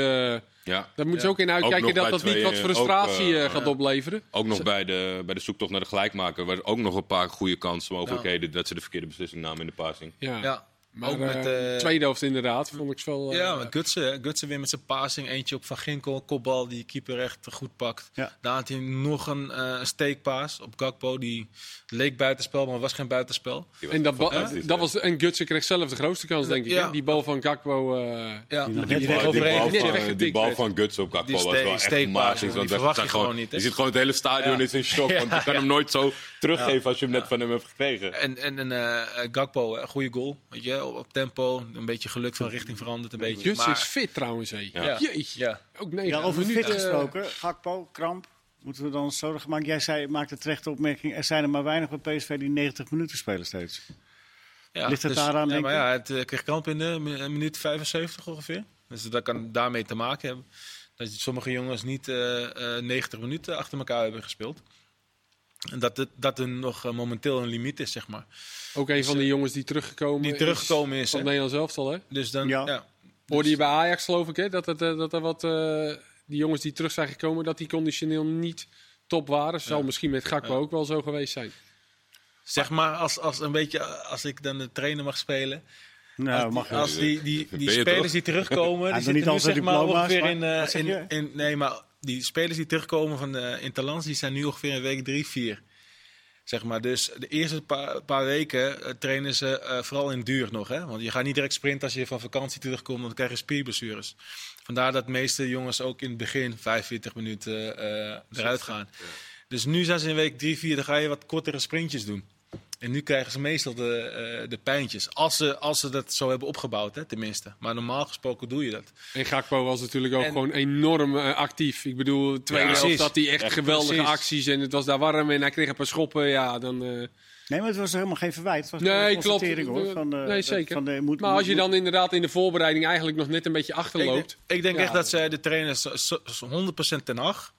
[SPEAKER 4] Ja.
[SPEAKER 2] daar moeten ze ook in
[SPEAKER 4] Ook
[SPEAKER 2] uitkijken
[SPEAKER 4] nog
[SPEAKER 2] dat
[SPEAKER 4] bij
[SPEAKER 2] dat niet
[SPEAKER 4] twee,
[SPEAKER 2] wat
[SPEAKER 4] eh,
[SPEAKER 2] frustratie
[SPEAKER 4] ook, eh,
[SPEAKER 2] eh, gaat opleveren.
[SPEAKER 4] Ook nog bij de, bij de zoektocht naar de gelijkmaker... waren ook nog een paar goede kansmogelijkheden... dat ze de verkeerde beslissing namen in de passing.
[SPEAKER 2] Ja,
[SPEAKER 3] Ja,
[SPEAKER 2] maar
[SPEAKER 3] ook met,
[SPEAKER 2] eh,
[SPEAKER 3] eh,
[SPEAKER 2] tweede helft inderdaad. Vond ik wel... eh,
[SPEAKER 3] Ja, maar Gutsen, hè. Gutsen weer met zijn passing. Eentje op Van Ginkel, kopbal die de keeper echt goed pakt.
[SPEAKER 1] Ja.
[SPEAKER 3] Daar had hij nog een eh, steekpaas op Gakpo. Die leek buitenspel, maar was geen buitenspel.
[SPEAKER 4] Die was
[SPEAKER 2] En, dat bal-
[SPEAKER 4] fantastisch,
[SPEAKER 2] dat
[SPEAKER 4] hè?
[SPEAKER 2] was, en Gutsen kreeg zelf de grootste kans, denk ik.
[SPEAKER 3] Ja.
[SPEAKER 2] hè? Die bal van Gakpo. eh,
[SPEAKER 3] Ja,
[SPEAKER 1] Die nog
[SPEAKER 3] die
[SPEAKER 1] net
[SPEAKER 3] bal-
[SPEAKER 1] weg-
[SPEAKER 4] Die
[SPEAKER 3] overheen-
[SPEAKER 4] bal,
[SPEAKER 2] net
[SPEAKER 4] van,
[SPEAKER 2] weggetikt
[SPEAKER 4] die bal
[SPEAKER 2] werd.
[SPEAKER 4] van Guts op Gakpo
[SPEAKER 3] Die
[SPEAKER 4] was
[SPEAKER 3] ste-
[SPEAKER 4] wel echt
[SPEAKER 3] steekpaas,
[SPEAKER 4] magisch.
[SPEAKER 3] die
[SPEAKER 4] want dat-
[SPEAKER 3] verwacht
[SPEAKER 4] dat
[SPEAKER 3] je
[SPEAKER 4] gewoon-
[SPEAKER 3] gewoon niet, hè?
[SPEAKER 4] Je ziet gewoon het hele stadion
[SPEAKER 3] Ja.
[SPEAKER 4] is in shock. Want je kan hem nooit zo teruggeven als je hem net van hem hebt gekregen.
[SPEAKER 3] En, en, en eh, Gakpo, een goede goal. Weet je, op, op tempo. Een beetje geluk van richting veranderd. Een beetje.
[SPEAKER 2] Guts
[SPEAKER 3] maar-
[SPEAKER 2] is fit trouwens, hé.
[SPEAKER 3] Ja.
[SPEAKER 2] Jeetje.
[SPEAKER 3] Ja.
[SPEAKER 2] Ook negen
[SPEAKER 1] Ja, over fit
[SPEAKER 2] minuten. eh,
[SPEAKER 1] gesproken, Gakpo, Kramp. Moeten we dan eens zorgen maken? Jij zei, maakte terecht de opmerking, er zijn er maar weinig bij PSV die 90 minuten spelen steeds.
[SPEAKER 3] Ja,
[SPEAKER 1] Ligt het
[SPEAKER 3] dus-
[SPEAKER 1] daaraan,
[SPEAKER 3] ja,
[SPEAKER 1] denk
[SPEAKER 3] maar
[SPEAKER 1] je?
[SPEAKER 3] ja, het eh, kreeg kamp in de mi- eh, minuut 75 ongeveer. Dus dat kan daarmee te maken hebben. Dat sommige jongens niet eh, eh, 90 minuten achter elkaar hebben gespeeld. En dat, het, dat er nog eh, momenteel een limiet is, zeg maar.
[SPEAKER 2] Ook een van de jongens die teruggekomen
[SPEAKER 3] Die
[SPEAKER 2] is
[SPEAKER 3] teruggekomen is,
[SPEAKER 2] Van
[SPEAKER 3] hè?
[SPEAKER 2] het Nederlands elftal, hè?
[SPEAKER 3] Dus dan,
[SPEAKER 1] Ja.
[SPEAKER 3] ja.
[SPEAKER 2] Hoorde je bij Ajax, geloof ik, hè? Dat, het, eh, dat er wat... eh, die jongens die terug zijn gekomen, dat die conditioneel niet top waren. Zal misschien met Gakpo ook wel zo geweest zijn.
[SPEAKER 3] Zeg maar, als, als, een beetje, eh, als ik dan de trainer mag spelen.
[SPEAKER 1] Nou,
[SPEAKER 3] als
[SPEAKER 1] mag
[SPEAKER 3] die,
[SPEAKER 1] wel.
[SPEAKER 3] als die, die,
[SPEAKER 4] Ben
[SPEAKER 3] die
[SPEAKER 4] je
[SPEAKER 3] spelers
[SPEAKER 4] toch?
[SPEAKER 3] die terugkomen,
[SPEAKER 1] Hij
[SPEAKER 3] die
[SPEAKER 1] doet
[SPEAKER 3] zitten
[SPEAKER 1] niet
[SPEAKER 3] nu
[SPEAKER 1] al zijn
[SPEAKER 3] zeg maar
[SPEAKER 1] diploma's,
[SPEAKER 3] ongeveer
[SPEAKER 1] maar-
[SPEAKER 3] in, eh,
[SPEAKER 1] wat zeg je?
[SPEAKER 3] in, in... Nee, maar die spelers die terugkomen van eh Interlands, die zijn nu ongeveer in week 3, 4. Zeg maar, dus de eerste paar, paar weken eh, trainen ze eh, vooral in duur nog. Hè? Want je gaat niet direct sprinten als je van vakantie terugkomt, want dan krijg je spierblessures. Vandaar dat de meeste jongens ook in het begin 45 minuten eh, eruit gaan. Dus nu zijn ze in week 3, 4, dan ga je wat kortere sprintjes doen. En nu krijgen ze meestal de, eh, de pijntjes. Als ze, als ze dat zo hebben opgebouwd, hè, tenminste. Maar normaal gesproken doe je dat.
[SPEAKER 2] En Gakpo was natuurlijk ook
[SPEAKER 3] En-
[SPEAKER 2] gewoon enorm eh, actief. Ik bedoel, tweede
[SPEAKER 3] Ja,
[SPEAKER 2] helft
[SPEAKER 3] precies.
[SPEAKER 2] had hij echt,
[SPEAKER 3] Echt
[SPEAKER 2] geweldige
[SPEAKER 3] precies.
[SPEAKER 2] acties en het was daar warm en hij kreeg een paar schoppen. Ja, dan, eh,
[SPEAKER 1] Nee, maar het was helemaal geen verwijt. Het was
[SPEAKER 2] Nee,
[SPEAKER 1] een
[SPEAKER 2] klopt.
[SPEAKER 1] constatering hoor. Van, eh,
[SPEAKER 2] Nee, zeker.
[SPEAKER 1] Van, de moet,
[SPEAKER 2] maar als je
[SPEAKER 1] moet-
[SPEAKER 2] dan inderdaad in de voorbereiding eigenlijk nog net een beetje
[SPEAKER 3] Ik, denk-
[SPEAKER 2] achterloopt.
[SPEAKER 3] ik denk
[SPEAKER 2] Ja.
[SPEAKER 3] echt dat ze de trainer zo- zo- zo 100% ten acht.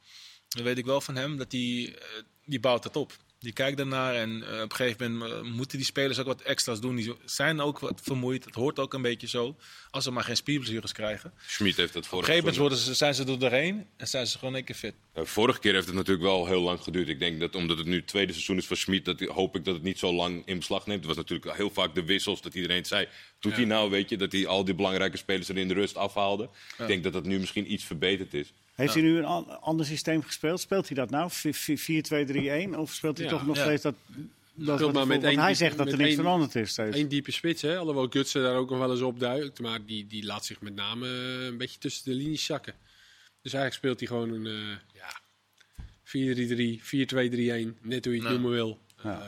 [SPEAKER 3] Dat weet ik wel van hem. Dat die, eh, die bouwt dat op. Die kijkt daarnaar en eh, op een gegeven moment eh, moeten die spelers ook wat extra's doen. Die zijn ook wat vermoeid. Het hoort ook een beetje zo. Als ze maar geen spierblessures krijgen. Op
[SPEAKER 4] Schmid heeft dat
[SPEAKER 3] een
[SPEAKER 4] vorige,
[SPEAKER 3] gegeven moment
[SPEAKER 4] zondag-
[SPEAKER 3] worden ze, zijn ze er doorheen en zijn ze gewoon een keer fit.
[SPEAKER 4] Eh, vorige keer heeft het natuurlijk wel heel lang geduurd. Ik denk dat omdat het nu het tweede seizoen is van Schmid, dat, hoop ik dat het niet zo lang in beslag neemt. Het was natuurlijk heel vaak de wissels dat iedereen zei. Doet hij nou, weet je, dat hij al die belangrijke spelers er in de rust afhaalde. Ik denk dat dat nu misschien iets verbeterd is.
[SPEAKER 1] Heeft hij nu een an- ander systeem gespeeld? Speelt hij dat nou? 4-2-3-1? Of speelt hij
[SPEAKER 2] Ja,
[SPEAKER 1] toch nog
[SPEAKER 3] ja.
[SPEAKER 1] steeds dat... dat
[SPEAKER 2] maar
[SPEAKER 1] wat-
[SPEAKER 2] met
[SPEAKER 1] want
[SPEAKER 2] één-
[SPEAKER 1] hij zegt dat
[SPEAKER 2] met
[SPEAKER 1] er niks
[SPEAKER 2] één-
[SPEAKER 1] veranderd is steeds.
[SPEAKER 2] Eén diepe spits, hè? alhoewel Gutsen daar ook nog wel eens op duikt. Maar die, die laat zich met name eh, een beetje tussen de linies zakken. Dus eigenlijk speelt hij gewoon een eh, ja, 4-3-3, 4-2-3-1, net hoe je het
[SPEAKER 3] Ja.
[SPEAKER 2] noemen wil.
[SPEAKER 1] Ja.
[SPEAKER 2] Eh, dus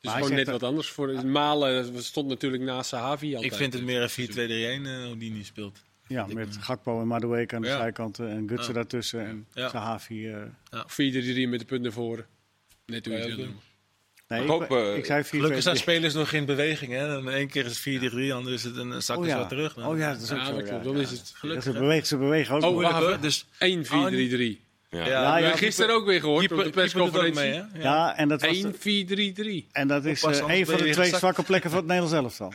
[SPEAKER 1] hij
[SPEAKER 2] gewoon
[SPEAKER 1] zegt
[SPEAKER 2] net
[SPEAKER 1] dat-
[SPEAKER 2] wat anders. Voor Malen stond natuurlijk naast Sahavi altijd.
[SPEAKER 3] Ik vind het meer een 4-2-3-1 eh, hoe die nu speelt.
[SPEAKER 1] Ja, met Gakpo en Madueke aan de
[SPEAKER 3] Ja.
[SPEAKER 1] zijkanten en Gutsen
[SPEAKER 3] Ja.
[SPEAKER 1] daartussen en
[SPEAKER 3] Ja.
[SPEAKER 1] Sahavi. eh.
[SPEAKER 2] 4-3-3 met de punt naar voren. Net hoe je het
[SPEAKER 3] Ja, ook
[SPEAKER 2] wil
[SPEAKER 3] doen.
[SPEAKER 2] noemen.
[SPEAKER 1] Nee,
[SPEAKER 4] Ik
[SPEAKER 1] ik,
[SPEAKER 4] hoop, eh,
[SPEAKER 1] ik zei 4
[SPEAKER 3] Gelukkig zijn spelers nog geen beweging. Hè? Dan één keer is het 4-3, anders is het een een zak
[SPEAKER 1] oh,
[SPEAKER 3] is
[SPEAKER 1] ja.
[SPEAKER 3] wel terug.
[SPEAKER 1] Oh ja, dat is ook
[SPEAKER 2] Ja,
[SPEAKER 1] zo.
[SPEAKER 2] dat
[SPEAKER 1] ja.
[SPEAKER 2] klopt. Dan is het
[SPEAKER 1] Ja,
[SPEAKER 3] gelukkig.
[SPEAKER 1] Ze bewegen, ze bewegen ook.
[SPEAKER 2] Oh,
[SPEAKER 1] nog.
[SPEAKER 2] wacht.
[SPEAKER 3] Moeilijk,
[SPEAKER 2] wacht.
[SPEAKER 3] hè? Dus
[SPEAKER 2] 1-4-3-3. We
[SPEAKER 4] Ja.
[SPEAKER 3] Ja,
[SPEAKER 1] ja,
[SPEAKER 2] hebben gisteren ook weer gehoord op de
[SPEAKER 3] keeper, keeper doet ook mee,
[SPEAKER 2] persconferentie.
[SPEAKER 3] hè?
[SPEAKER 1] ja. en dat, was,
[SPEAKER 2] 1-4-3-3.
[SPEAKER 1] en dat is
[SPEAKER 3] Oppassen,
[SPEAKER 1] eh,
[SPEAKER 3] anders
[SPEAKER 1] een
[SPEAKER 3] ben
[SPEAKER 1] van
[SPEAKER 3] je
[SPEAKER 1] de
[SPEAKER 3] weer
[SPEAKER 1] twee
[SPEAKER 3] gezakt.
[SPEAKER 1] zwakke plekken van het Nederlands elftal.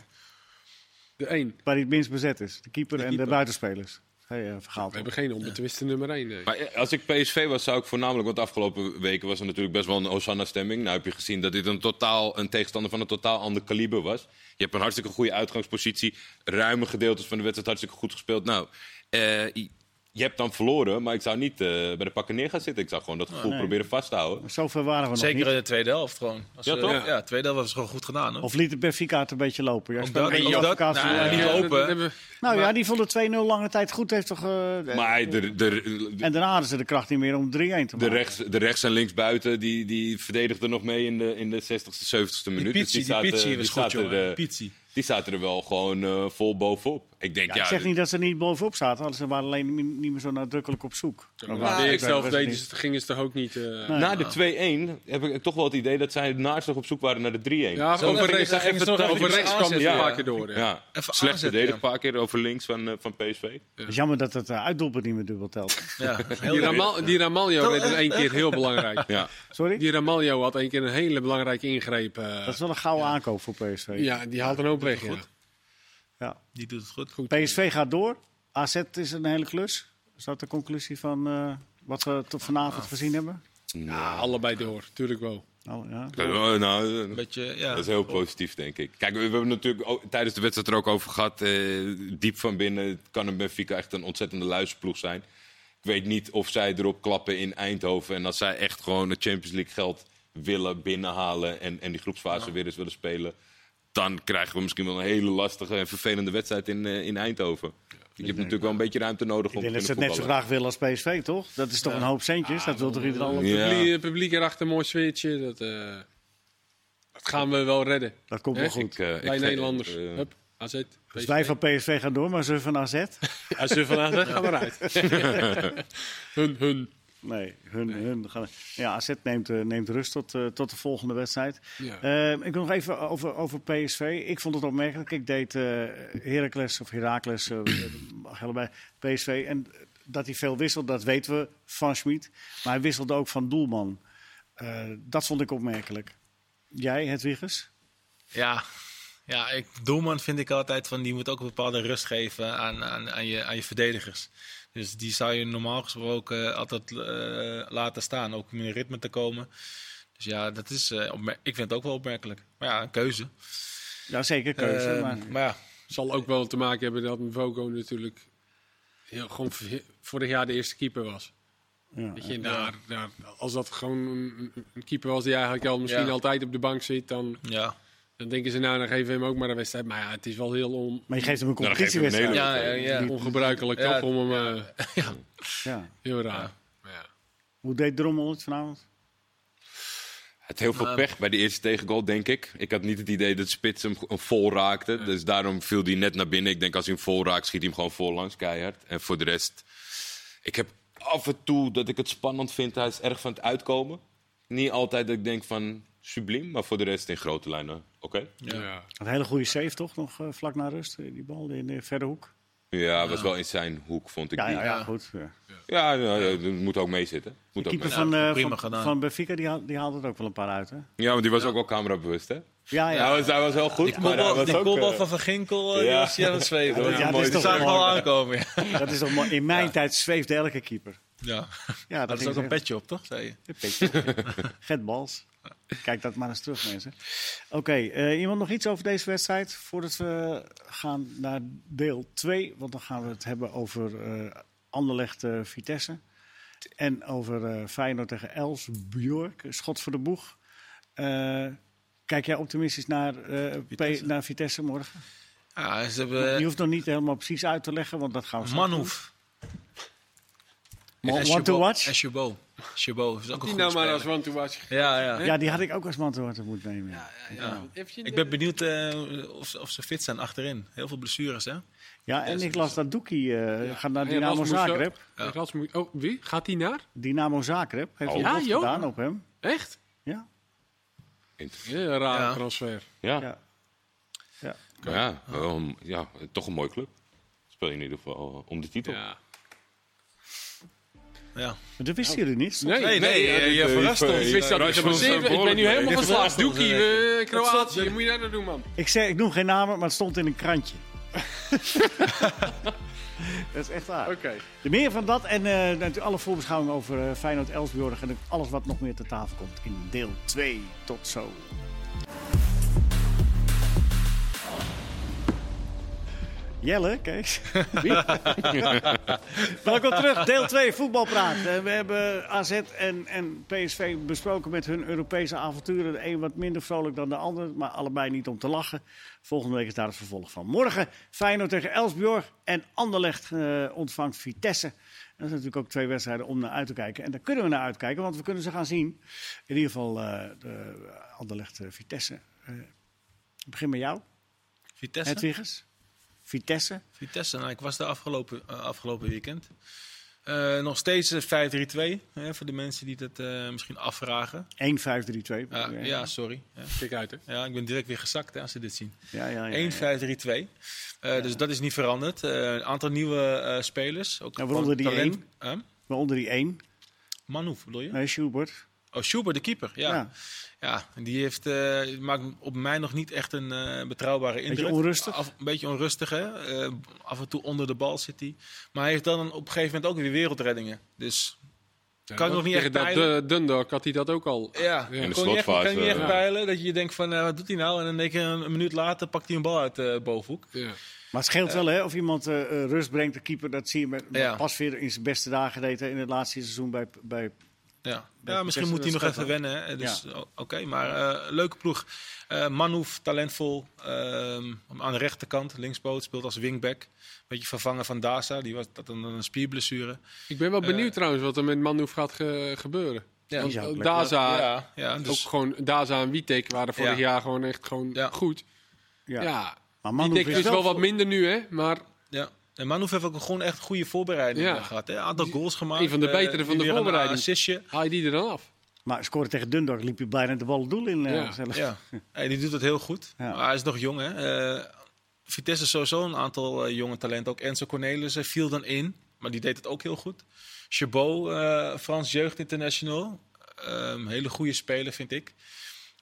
[SPEAKER 2] De 1.
[SPEAKER 1] Waar hij het minst bezet is. De keeper, en de
[SPEAKER 2] keeper.
[SPEAKER 1] buitenspelers. Hey, eh verhaal
[SPEAKER 2] We hebben geen onbetwiste nummer 1. Nee.
[SPEAKER 4] Maar eh, als ik PSV was, zou ik voornamelijk, want de afgelopen weken was er natuurlijk best wel een Osanna-stemming. Nou heb je gezien dat dit een, totaal, een tegenstander van een totaal ander kaliber was. Je hebt een hartstikke goede uitgangspositie. Ruime gedeeltes van de wedstrijd hartstikke goed gespeeld. Nou, eh, je- je hebt dan verloren, maar ik zou niet eh, bij de pakken neer gaan zitten. Ik zou gewoon dat gevoel
[SPEAKER 1] Oh, nee.
[SPEAKER 4] proberen vast te houden.
[SPEAKER 1] Zover waren we nog
[SPEAKER 3] Zeker
[SPEAKER 1] niet.
[SPEAKER 3] in de tweede helft gewoon. Als
[SPEAKER 4] Ja,
[SPEAKER 3] we-
[SPEAKER 4] toch?
[SPEAKER 3] Ja, de tweede helft was gewoon goed gedaan. Hoor.
[SPEAKER 1] Of liet de Benfica het een beetje lopen? Ja,
[SPEAKER 3] Ook
[SPEAKER 1] speelde
[SPEAKER 3] dat-
[SPEAKER 1] een
[SPEAKER 3] ook
[SPEAKER 1] beetje
[SPEAKER 3] dat-
[SPEAKER 1] advocaat van-
[SPEAKER 3] nou,
[SPEAKER 1] eh,
[SPEAKER 3] niet
[SPEAKER 2] dat-
[SPEAKER 3] open.
[SPEAKER 2] dat hebben we-
[SPEAKER 1] Nou ja,
[SPEAKER 3] maar-
[SPEAKER 1] die vonden 2-0 lange tijd goed. Heeft toch, eh, eh,
[SPEAKER 4] Maar de, de,
[SPEAKER 1] en daarna hadden ze de kracht niet meer om 3-1 te maken.
[SPEAKER 4] de, rechts, de rechts en links buiten die, die verdedigden nog mee in de, in de 60ste, 70ste minuut.
[SPEAKER 3] Die
[SPEAKER 4] Dus
[SPEAKER 3] Pizzi, die
[SPEAKER 4] zaten-
[SPEAKER 3] Pizzi was
[SPEAKER 4] die
[SPEAKER 3] goed,
[SPEAKER 4] zaten er,
[SPEAKER 3] jongen.
[SPEAKER 4] eh,
[SPEAKER 3] Pizzi.
[SPEAKER 4] Die zaten er wel gewoon eh, vol bovenop. Ik denk,
[SPEAKER 1] Ja,
[SPEAKER 4] ja,
[SPEAKER 1] ik zeg niet dat ze niet bovenop zaten, want ze waren alleen mi- niet meer zo nadrukkelijk op zoek.
[SPEAKER 2] Maar
[SPEAKER 1] Maar
[SPEAKER 2] de
[SPEAKER 1] ik
[SPEAKER 2] eerste helft
[SPEAKER 1] weet het
[SPEAKER 2] deden ze- gingen ze toch ook niet. eh,
[SPEAKER 1] Nee.
[SPEAKER 4] Na de 2-1 heb ik toch wel het idee dat zij naast nog op zoek waren naar de 3-1.
[SPEAKER 2] Ja,
[SPEAKER 4] Zo
[SPEAKER 2] over
[SPEAKER 4] gingen
[SPEAKER 2] rechts,
[SPEAKER 4] ze
[SPEAKER 3] gingen
[SPEAKER 4] even
[SPEAKER 3] ze nog
[SPEAKER 4] te-
[SPEAKER 3] even
[SPEAKER 4] over
[SPEAKER 2] over
[SPEAKER 3] iets
[SPEAKER 4] rechts.
[SPEAKER 2] rechts kwam ze
[SPEAKER 3] aanzetten,
[SPEAKER 2] een
[SPEAKER 4] ja.
[SPEAKER 2] paar keer door. hè.
[SPEAKER 4] Ja,
[SPEAKER 3] Even
[SPEAKER 4] slecht
[SPEAKER 3] aanzetten,
[SPEAKER 4] verdedigd
[SPEAKER 3] ja.
[SPEAKER 4] een paar keer over links van, eh, van PSV.
[SPEAKER 1] Het is jammer dat het eh, uitdoelpunt niet meer dubbel telt.
[SPEAKER 3] Ja, heel
[SPEAKER 2] Die,
[SPEAKER 3] leuk.
[SPEAKER 2] Ramal, die Ramaljo werd in één keer heel belangrijk.
[SPEAKER 4] Ja.
[SPEAKER 1] Sorry?
[SPEAKER 2] Die Ramaljo had één keer een hele belangrijke ingreep. eh,
[SPEAKER 1] Dat is wel een gouden aankoop voor PSV.
[SPEAKER 2] ja, die haalt een hoop weg. Ja.
[SPEAKER 1] Ja.
[SPEAKER 3] Die doet het goed.
[SPEAKER 1] PSV gaat door. AZ is een hele klus. Is dat de conclusie van eh, wat we tot vanavond
[SPEAKER 4] Ah.
[SPEAKER 1] gezien hebben?
[SPEAKER 2] Ja, allebei door, tuurlijk wel.
[SPEAKER 1] Nou, ja.
[SPEAKER 4] Eh, nou, eh,
[SPEAKER 3] Een beetje, ja.
[SPEAKER 4] dat is heel positief, denk ik. Kijk, we, we hebben natuurlijk ook tijdens de wedstrijd er ook over gehad. eh, diep van binnen kan een Benfica echt een ontzettende luisterploeg zijn. Ik weet niet of zij erop klappen in Eindhoven. En als zij echt gewoon het Champions League geld willen binnenhalen. En, en die groepsfase weer eens willen spelen. Dan krijgen we misschien wel een hele lastige en vervelende wedstrijd in, eh, in Eindhoven. Je hebt natuurlijk wel een beetje ruimte nodig
[SPEAKER 1] Ik
[SPEAKER 4] om
[SPEAKER 1] denk dat
[SPEAKER 4] te
[SPEAKER 1] ze het
[SPEAKER 4] kunnen
[SPEAKER 1] net zo
[SPEAKER 4] voetballen. Ah,
[SPEAKER 1] graag willen als PSV, toch? Dat is toch een hoop centjes? dat wil toch iedereen al?
[SPEAKER 4] Ja.
[SPEAKER 2] Publiek, publiek erachter, mooi sfeertje. Dat, eh, dat gaan we wel redden.
[SPEAKER 1] Dat komt wel
[SPEAKER 2] Hè?
[SPEAKER 1] goed.
[SPEAKER 4] Ik, eh, ik
[SPEAKER 2] Wij
[SPEAKER 4] ge-
[SPEAKER 2] Nederlanders.
[SPEAKER 4] eh,
[SPEAKER 2] Hup, AZ.
[SPEAKER 1] Dus wij van PSV gaan door, maar ze van AZ?
[SPEAKER 2] Als ze vandaag zeggen, gaan we eruit. hun, hun.
[SPEAKER 1] Nee, hun, hun gaan... Ja, AZ neemt, eh, neemt rust tot, eh, tot de volgende wedstrijd.
[SPEAKER 2] Ja.
[SPEAKER 1] Eh, ik wil nog even over, over PSV. Ik vond het opmerkelijk. Ik deed eh Heracles of Heracles, eh, mag allebei, PSV. En dat hij veel wisselt, dat weten we van Schmid. Maar hij wisselde ook van Doelman. Eh, dat vond ik opmerkelijk. Jij, Hedwiges?
[SPEAKER 3] Ja. Ja, ik, doelman vind ik altijd van die moet ook een bepaalde rust geven aan, aan, aan, je, aan je verdedigers. Dus die zou je normaal gesproken eh, altijd eh, laten staan, ook om in ritme te komen. Dus ja, dat is, eh, opmer- ik vind het ook wel opmerkelijk. Maar ja, een keuze.
[SPEAKER 1] Ja, zeker keuze.
[SPEAKER 4] Ehm,
[SPEAKER 3] Eh,
[SPEAKER 1] maar
[SPEAKER 3] maar ja,
[SPEAKER 2] Zal ook wel te maken hebben dat Mvogo natuurlijk heel, gewoon v- vorig jaar de eerste keeper was.
[SPEAKER 1] ja.
[SPEAKER 2] Weet je, en daar, daar, als dat gewoon een, een keeper was die eigenlijk al misschien
[SPEAKER 3] Ja.
[SPEAKER 2] altijd op de bank zit, dan,
[SPEAKER 3] ja.
[SPEAKER 2] dan denken ze nou, dan geven we hem ook maar een wedstrijd. Maar ja, het is wel heel on,
[SPEAKER 1] Maar je geeft hem een
[SPEAKER 4] Nou, dan geef je hem
[SPEAKER 1] competitiewedstrijd.
[SPEAKER 4] Nederland.
[SPEAKER 1] Ja.
[SPEAKER 3] Ah, Ja, ja, ja.
[SPEAKER 2] ongebruikelijk
[SPEAKER 3] Ja.
[SPEAKER 2] toch om hem eh, heel
[SPEAKER 3] Ja.
[SPEAKER 2] raar. Maar ja.
[SPEAKER 1] Hoe deed Drommel het vanavond?
[SPEAKER 4] Het heel
[SPEAKER 3] Ehm.
[SPEAKER 4] veel pech bij die eerste tegengoal, denk ik. Ik had niet het idee dat Spits hem go- vol raakte. Dus daarom viel hij net naar binnen. Ik denk als hij hem vol raakt, schiet hij hem gewoon voorlangs, keihard. En voor de rest, ik heb af en toe dat ik het spannend vind. Hij is erg van het uitkomen. Niet altijd dat ik denk van subliem, maar voor de rest in grote lijnen. Oké.
[SPEAKER 2] Ja. nou
[SPEAKER 1] Een hele goede save toch, nog eh, vlak na rust. eh, Die bal in de verre hoek.
[SPEAKER 4] Ja, was wel in zijn hoek, vond ik.
[SPEAKER 1] Ja,
[SPEAKER 4] die.
[SPEAKER 1] ja,
[SPEAKER 4] Ja,
[SPEAKER 1] ja goed. ja.
[SPEAKER 4] ja, ja, dat moet ook meezitten. Moet ook
[SPEAKER 1] keeper
[SPEAKER 4] mee.
[SPEAKER 1] van, eh,
[SPEAKER 3] prima
[SPEAKER 1] van,
[SPEAKER 3] gedaan.
[SPEAKER 1] van Benfica, die, haal- die haalde er ook wel een paar uit, hè?
[SPEAKER 4] Ja, want die was ook wel camerabewust, hè?
[SPEAKER 1] Ja,
[SPEAKER 4] Ja,
[SPEAKER 1] ja.
[SPEAKER 4] hij was- hij was heel goed.
[SPEAKER 3] Die
[SPEAKER 4] maar hij
[SPEAKER 3] kopbal,
[SPEAKER 4] was
[SPEAKER 3] die
[SPEAKER 4] ook,
[SPEAKER 3] kopbal
[SPEAKER 4] eh,
[SPEAKER 3] van Van Ginkel, eh, die
[SPEAKER 4] ja.
[SPEAKER 3] was hier aan het zweven.
[SPEAKER 4] Ja,
[SPEAKER 3] hoor.
[SPEAKER 4] dat
[SPEAKER 1] is
[SPEAKER 3] die
[SPEAKER 1] toch
[SPEAKER 3] zag
[SPEAKER 1] wel
[SPEAKER 3] wel
[SPEAKER 1] mooi.
[SPEAKER 3] aankomen. Ja,
[SPEAKER 1] Dat is toch mooi. In mijn tijd zweefde elke keeper.
[SPEAKER 3] ja.
[SPEAKER 1] Ja,
[SPEAKER 3] dat is
[SPEAKER 1] ging
[SPEAKER 3] ook
[SPEAKER 1] zeggen.
[SPEAKER 3] een petje op, toch? Zei je?
[SPEAKER 1] Gert Bals. Kijk dat maar eens terug, mensen. Oké, eh, iemand nog iets over deze wedstrijd? Voordat we gaan naar deel 2. Want dan gaan we het hebben over eh Anderlecht eh, Vitesse. En over eh, Feyenoord tegen Els Bjork. Schot voor de boeg. Eh, kijk jij optimistisch naar, eh, P-
[SPEAKER 3] Vitesse. Eh,
[SPEAKER 1] naar Vitesse morgen?
[SPEAKER 3] Ja, ze
[SPEAKER 1] Je
[SPEAKER 3] hebben
[SPEAKER 1] hoeft nog niet helemaal precies uit te leggen, want dat gaan we
[SPEAKER 3] eh,
[SPEAKER 1] zo doen.
[SPEAKER 3] Manhoef.
[SPEAKER 1] Want
[SPEAKER 3] En
[SPEAKER 1] want to
[SPEAKER 3] Chabot-
[SPEAKER 1] watch?
[SPEAKER 3] En Chabot. Chabot is ook een
[SPEAKER 2] Die
[SPEAKER 3] goede
[SPEAKER 2] nou maar als
[SPEAKER 3] speler.
[SPEAKER 2] one to watch.
[SPEAKER 3] Ja, ja.
[SPEAKER 1] Ja, die had ik ook als man te horen moeten nemen.
[SPEAKER 3] Ja.
[SPEAKER 2] Even-
[SPEAKER 3] Ik ben benieuwd eh, of, ze- of ze fit zijn achterin. Heel veel blessures, hè?
[SPEAKER 1] Ja, en ik las dat Doekie eh, gaat naar
[SPEAKER 2] Hey,
[SPEAKER 1] Dynamo
[SPEAKER 2] Rasmus ook.
[SPEAKER 1] Zagreb.
[SPEAKER 2] Hey, Rasmus- Oh, wie? Gaat die naar?
[SPEAKER 1] Dynamo Zagreb heeft
[SPEAKER 4] Oh.
[SPEAKER 1] een
[SPEAKER 2] Ja,
[SPEAKER 1] bod
[SPEAKER 2] joh.
[SPEAKER 1] gedaan op hem.
[SPEAKER 2] Echt?
[SPEAKER 1] Ja,
[SPEAKER 4] Inter-
[SPEAKER 2] Ja, een rare
[SPEAKER 3] Ja.
[SPEAKER 2] transfer.
[SPEAKER 4] Ja.
[SPEAKER 1] ja.
[SPEAKER 4] Maar Ja, ehm, ja, toch een mooi club. Speel je in ieder geval eh, om de titel.
[SPEAKER 2] Ja.
[SPEAKER 3] Ja.
[SPEAKER 1] Maar dat wisten jullie niet.
[SPEAKER 2] Oh. Nee,
[SPEAKER 3] Nee, nee,
[SPEAKER 2] ja,
[SPEAKER 3] eh, je
[SPEAKER 4] eh,
[SPEAKER 3] verrast
[SPEAKER 4] eh,
[SPEAKER 3] ons.
[SPEAKER 2] Ik wist dat
[SPEAKER 4] Ruud
[SPEAKER 2] niet.
[SPEAKER 4] van
[SPEAKER 2] Geblesseerd.
[SPEAKER 4] Steen
[SPEAKER 2] Ik ben nu
[SPEAKER 4] behoorlijk.
[SPEAKER 2] helemaal
[SPEAKER 3] Dit verrast
[SPEAKER 2] verslaafd.
[SPEAKER 3] ons,
[SPEAKER 2] Doekie,
[SPEAKER 3] eh,
[SPEAKER 2] eh, Kroatië, je moet je daar naartoe, man.
[SPEAKER 1] Ik, zeg, ik noem geen namen, maar het stond in een krantje. dat is echt waar.
[SPEAKER 2] Oké.
[SPEAKER 1] De Meer van dat en eh, natuurlijk alle voorbeschouwingen over eh, Feyenoord, Elsbjorg en alles wat nog meer ter tafel komt in deel 2. Tot zo. Jelle, Kees. Welkom terug, deel 2 voetbalpraat. Eh, We hebben AZ en, en PSV besproken met hun Europese avonturen. De een wat minder vrolijk dan de ander, maar allebei niet om te lachen. Volgende week is daar het vervolg van. Morgen Feyenoord tegen Elsbjorg en Anderlecht eh, ontvangt Vitesse. En Dat zijn natuurlijk ook twee wedstrijden om naar uit te kijken. En daar kunnen we naar uitkijken, want we kunnen ze gaan zien. In ieder geval eh, de Anderlecht-Vitesse. ik Eh, begin met jou,
[SPEAKER 3] Vitesse.
[SPEAKER 1] Hedwiggers. Vitesse.
[SPEAKER 3] Vitesse, nou, ik was daar afgelopen, eh, afgelopen weekend. Eh, nog steeds eh, 5-3-2, hè, voor de mensen die dat eh, misschien afvragen.
[SPEAKER 1] 1-5-3-2.
[SPEAKER 3] Ah, ja, sorry. Ja.
[SPEAKER 2] Kijk uit, hè.
[SPEAKER 3] Ja, ik ben direct weer gezakt hè, als ze dit zien.
[SPEAKER 1] ja, ja, ja.
[SPEAKER 3] 1-5-3-2. Eh, Dus dat is niet veranderd. Eh, een aantal nieuwe eh, spelers. Ook
[SPEAKER 1] Ja, waaronder
[SPEAKER 3] gewoon
[SPEAKER 1] die
[SPEAKER 3] talent. Huh?
[SPEAKER 1] Waaronder die 1.
[SPEAKER 3] Manhoef, bedoel je?
[SPEAKER 1] Nee, Schubert.
[SPEAKER 3] Oh, Schubert, de keeper. Ja,
[SPEAKER 1] Ja.
[SPEAKER 3] ja. die heeft, eh, maakt op mij nog niet echt een eh, betrouwbare indruk.
[SPEAKER 1] onrustig?
[SPEAKER 3] Af- een beetje onrustig, hè. Eh, af en toe onder de bal zit hij. Maar hij heeft dan op een gegeven moment ook weer wereldreddingen. Dus Kan ik nog niet echt
[SPEAKER 2] Tegen dat
[SPEAKER 3] peilen.
[SPEAKER 2] eh, Dundalk had hij dat ook al.
[SPEAKER 3] ja,
[SPEAKER 4] In de
[SPEAKER 3] kon je echt, kan je niet
[SPEAKER 4] slotfase,
[SPEAKER 3] echt
[SPEAKER 2] ja.
[SPEAKER 3] peilen dat je denkt van, eh, wat doet hij nou? En dan denk je, een, een minuut later pakt hij een bal uit de bovenhoek.
[SPEAKER 2] Ja.
[SPEAKER 1] Maar het scheelt wel, hè? Of iemand eh, eh, rust brengt, de keeper, dat zie je met,
[SPEAKER 3] Ja.
[SPEAKER 1] pas weer in zijn beste dagen deed hè, in het laatste seizoen bij. bij
[SPEAKER 3] Ja, ja
[SPEAKER 1] Beter
[SPEAKER 3] misschien
[SPEAKER 1] testen,
[SPEAKER 3] moet hij
[SPEAKER 1] dat
[SPEAKER 3] nog
[SPEAKER 1] scheelt
[SPEAKER 3] even
[SPEAKER 1] wel.
[SPEAKER 3] wennen. Hè? Dus, o- Oké, maar eh, leuke ploeg. Eh Manhoef, talentvol. ehm, aan de rechterkant, linksboot, speelt als wingback. Beetje vervangen van Daza, die was dat een, een spierblessure.
[SPEAKER 2] Ik ben wel
[SPEAKER 3] Eh,
[SPEAKER 2] benieuwd trouwens wat er met Manhoef gaat ge- gebeuren.
[SPEAKER 3] Ja,
[SPEAKER 2] Want
[SPEAKER 1] ja,
[SPEAKER 2] ook
[SPEAKER 1] lekker.
[SPEAKER 2] Daza,
[SPEAKER 3] ja, ja, dus,
[SPEAKER 2] ook gewoon, Daza en Witek waren vorig
[SPEAKER 3] Ja.
[SPEAKER 2] jaar gewoon echt gewoon
[SPEAKER 3] Ja.
[SPEAKER 2] goed.
[SPEAKER 1] ja.
[SPEAKER 2] Ja.
[SPEAKER 1] Maar
[SPEAKER 2] Witek
[SPEAKER 1] Manhoef
[SPEAKER 2] is wel wat
[SPEAKER 1] vo-
[SPEAKER 2] minder nu, hè. Maar
[SPEAKER 3] ja. En Manhoef heeft ook gewoon echt goede voorbereiding
[SPEAKER 2] Ja.
[SPEAKER 3] gehad. Hè? Aantal goals gemaakt.
[SPEAKER 2] een van de
[SPEAKER 3] eh,
[SPEAKER 2] betere
[SPEAKER 3] nu
[SPEAKER 2] van de
[SPEAKER 3] weer een
[SPEAKER 2] voorbereiding.
[SPEAKER 3] assistje.
[SPEAKER 2] haal je die er dan af?
[SPEAKER 1] Maar scoren tegen Dundalk liep je bijna de bal het doel in. eh,
[SPEAKER 2] Ja.
[SPEAKER 1] zelf.
[SPEAKER 3] Ja, Hey, die doet het heel goed.
[SPEAKER 1] Ja.
[SPEAKER 3] Maar hij is nog jong, hè. Eh, Vitesse is sowieso een aantal eh, jonge talenten. Ook Enzo Cornelissen viel dan in, maar die deed het ook heel goed. Chabot, eh, Frans Jeugd International. Ehm, hele goede speler, vind ik.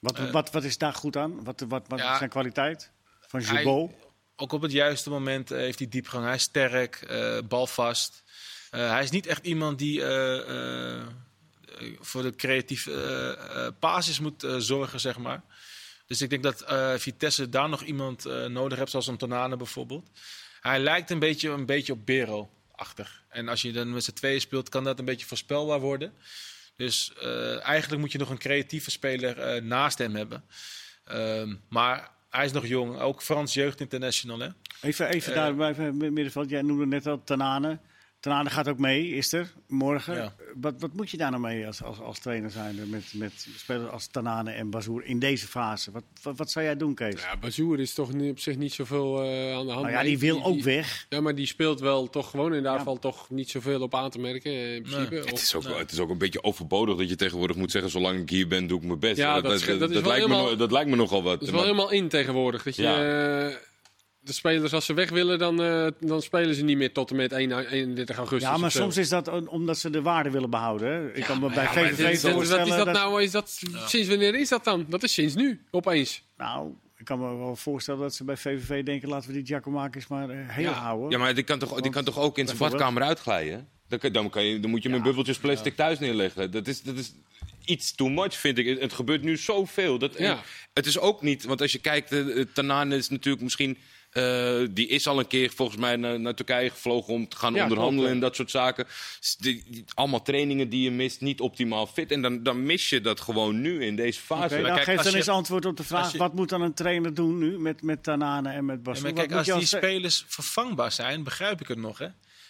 [SPEAKER 1] Wat, wat, wat is daar goed aan? Wat, wat, wat
[SPEAKER 3] Ja.
[SPEAKER 1] is zijn kwaliteit? Van
[SPEAKER 3] Hij-
[SPEAKER 1] Jubot?
[SPEAKER 3] Ook op het juiste moment eh, heeft hij diepgang. Hij is sterk, eh, balvast. Eh, hij is niet echt iemand die eh, eh, eh, voor de creatieve eh eh, basis moet eh, zorgen, zeg maar. Dus ik denk dat eh, Vitesse daar nog iemand eh, nodig hebt, zoals een Tonane bijvoorbeeld. Hij lijkt een beetje, een beetje op Bero-achtig. En als je dan met z'n tweeën speelt, kan dat een beetje voorspelbaar worden. Dus eh, eigenlijk moet je nog een creatieve speler eh, naast hem hebben. Ehm, maar hij is nog jong. Ook Frans Jeugd International, hè?
[SPEAKER 1] Even, even
[SPEAKER 3] Eh.
[SPEAKER 1] daar bij bij het middenveld. Jij noemde net al Tanane. Tanane gaat ook mee, is er, morgen. Eh,
[SPEAKER 3] Ja.
[SPEAKER 1] Wat, wat moet je daar nou mee als, als, als trainer zijn met, met spelers als Tanane en Bazoer in deze fase? Wat, wat, wat zou jij doen, Kees?
[SPEAKER 2] Ja, Bazoer is toch niet- op zich niet zoveel eh, aan de hand.
[SPEAKER 1] nou ja,
[SPEAKER 2] Maar
[SPEAKER 1] die
[SPEAKER 2] ik-
[SPEAKER 1] wil ook weg.
[SPEAKER 2] Ja, maar die speelt wel toch gewoon en daar
[SPEAKER 1] Ja.
[SPEAKER 2] valt toch niet zoveel op aan te merken eh, in principe.
[SPEAKER 4] Het
[SPEAKER 2] Of-
[SPEAKER 4] is, ook, wel- nou, het is ook een beetje overbodig dat je tegenwoordig moet zeggen: zolang ik hier ben, doe ik mijn best.
[SPEAKER 2] Ja, dat is- dat is wel
[SPEAKER 4] lijkt, me,
[SPEAKER 2] helemaal-
[SPEAKER 4] no- dat lijkt me nogal wat.
[SPEAKER 2] dat is wel
[SPEAKER 4] Maar-
[SPEAKER 2] helemaal in tegenwoordig. Dat je,
[SPEAKER 4] Ja.
[SPEAKER 2] eh, de spelers, als ze weg willen, dan, eh, dan spelen ze niet meer tot en met 1 31 augustus.
[SPEAKER 1] Ja, maar
[SPEAKER 2] of zo.
[SPEAKER 1] soms is dat om- omdat ze de waarde willen behouden. hè. Ik kan me bij
[SPEAKER 2] Ja, maar dit-
[SPEAKER 1] VVV
[SPEAKER 2] dit- wat
[SPEAKER 1] voorstellen...
[SPEAKER 2] is dat
[SPEAKER 1] dat-
[SPEAKER 2] nou? Is dat, Sinds wanneer is dat dan? Dat is sinds nu, opeens.
[SPEAKER 1] Nou, ik kan me wel voorstellen dat ze bij VVV denken... laten we die Giacomakis maar eh, heel
[SPEAKER 2] Ja,
[SPEAKER 1] houden.
[SPEAKER 4] Ja, maar die kan toch, die kan toch ook in zijn
[SPEAKER 1] bijvoorbeeld-
[SPEAKER 4] badkamer uitglijden? Dan, kan- dan, kan je, dan moet je met bubbeltjes plastic thuis neerleggen. Dat is, dat is iets too much, vind ik. Het, het gebeurt nu zoveel. Dat, en
[SPEAKER 2] Ja.
[SPEAKER 4] Het is ook niet, want als je kijkt, eh, eh, Tanane is natuurlijk misschien... eh, die is al een keer volgens mij naar, naar Turkije gevlogen om te gaan
[SPEAKER 2] Ja,
[SPEAKER 4] onderhandelen
[SPEAKER 2] klopt, ja.
[SPEAKER 4] en dat soort zaken. Dus die- die- allemaal trainingen die je mist, niet optimaal fit. En dan, dan mis je dat gewoon nu in deze fase.
[SPEAKER 1] Oké, nou,
[SPEAKER 3] kijk,
[SPEAKER 1] geef
[SPEAKER 3] als
[SPEAKER 1] dan
[SPEAKER 3] je-
[SPEAKER 1] eens antwoord op de vraag:
[SPEAKER 3] als je-
[SPEAKER 1] wat moet dan een trainer doen nu met, met Tanane en met Bas?
[SPEAKER 3] Ja, maar kijk, als die spelers vervangbaar zijn, begrijp ik het nog, hè?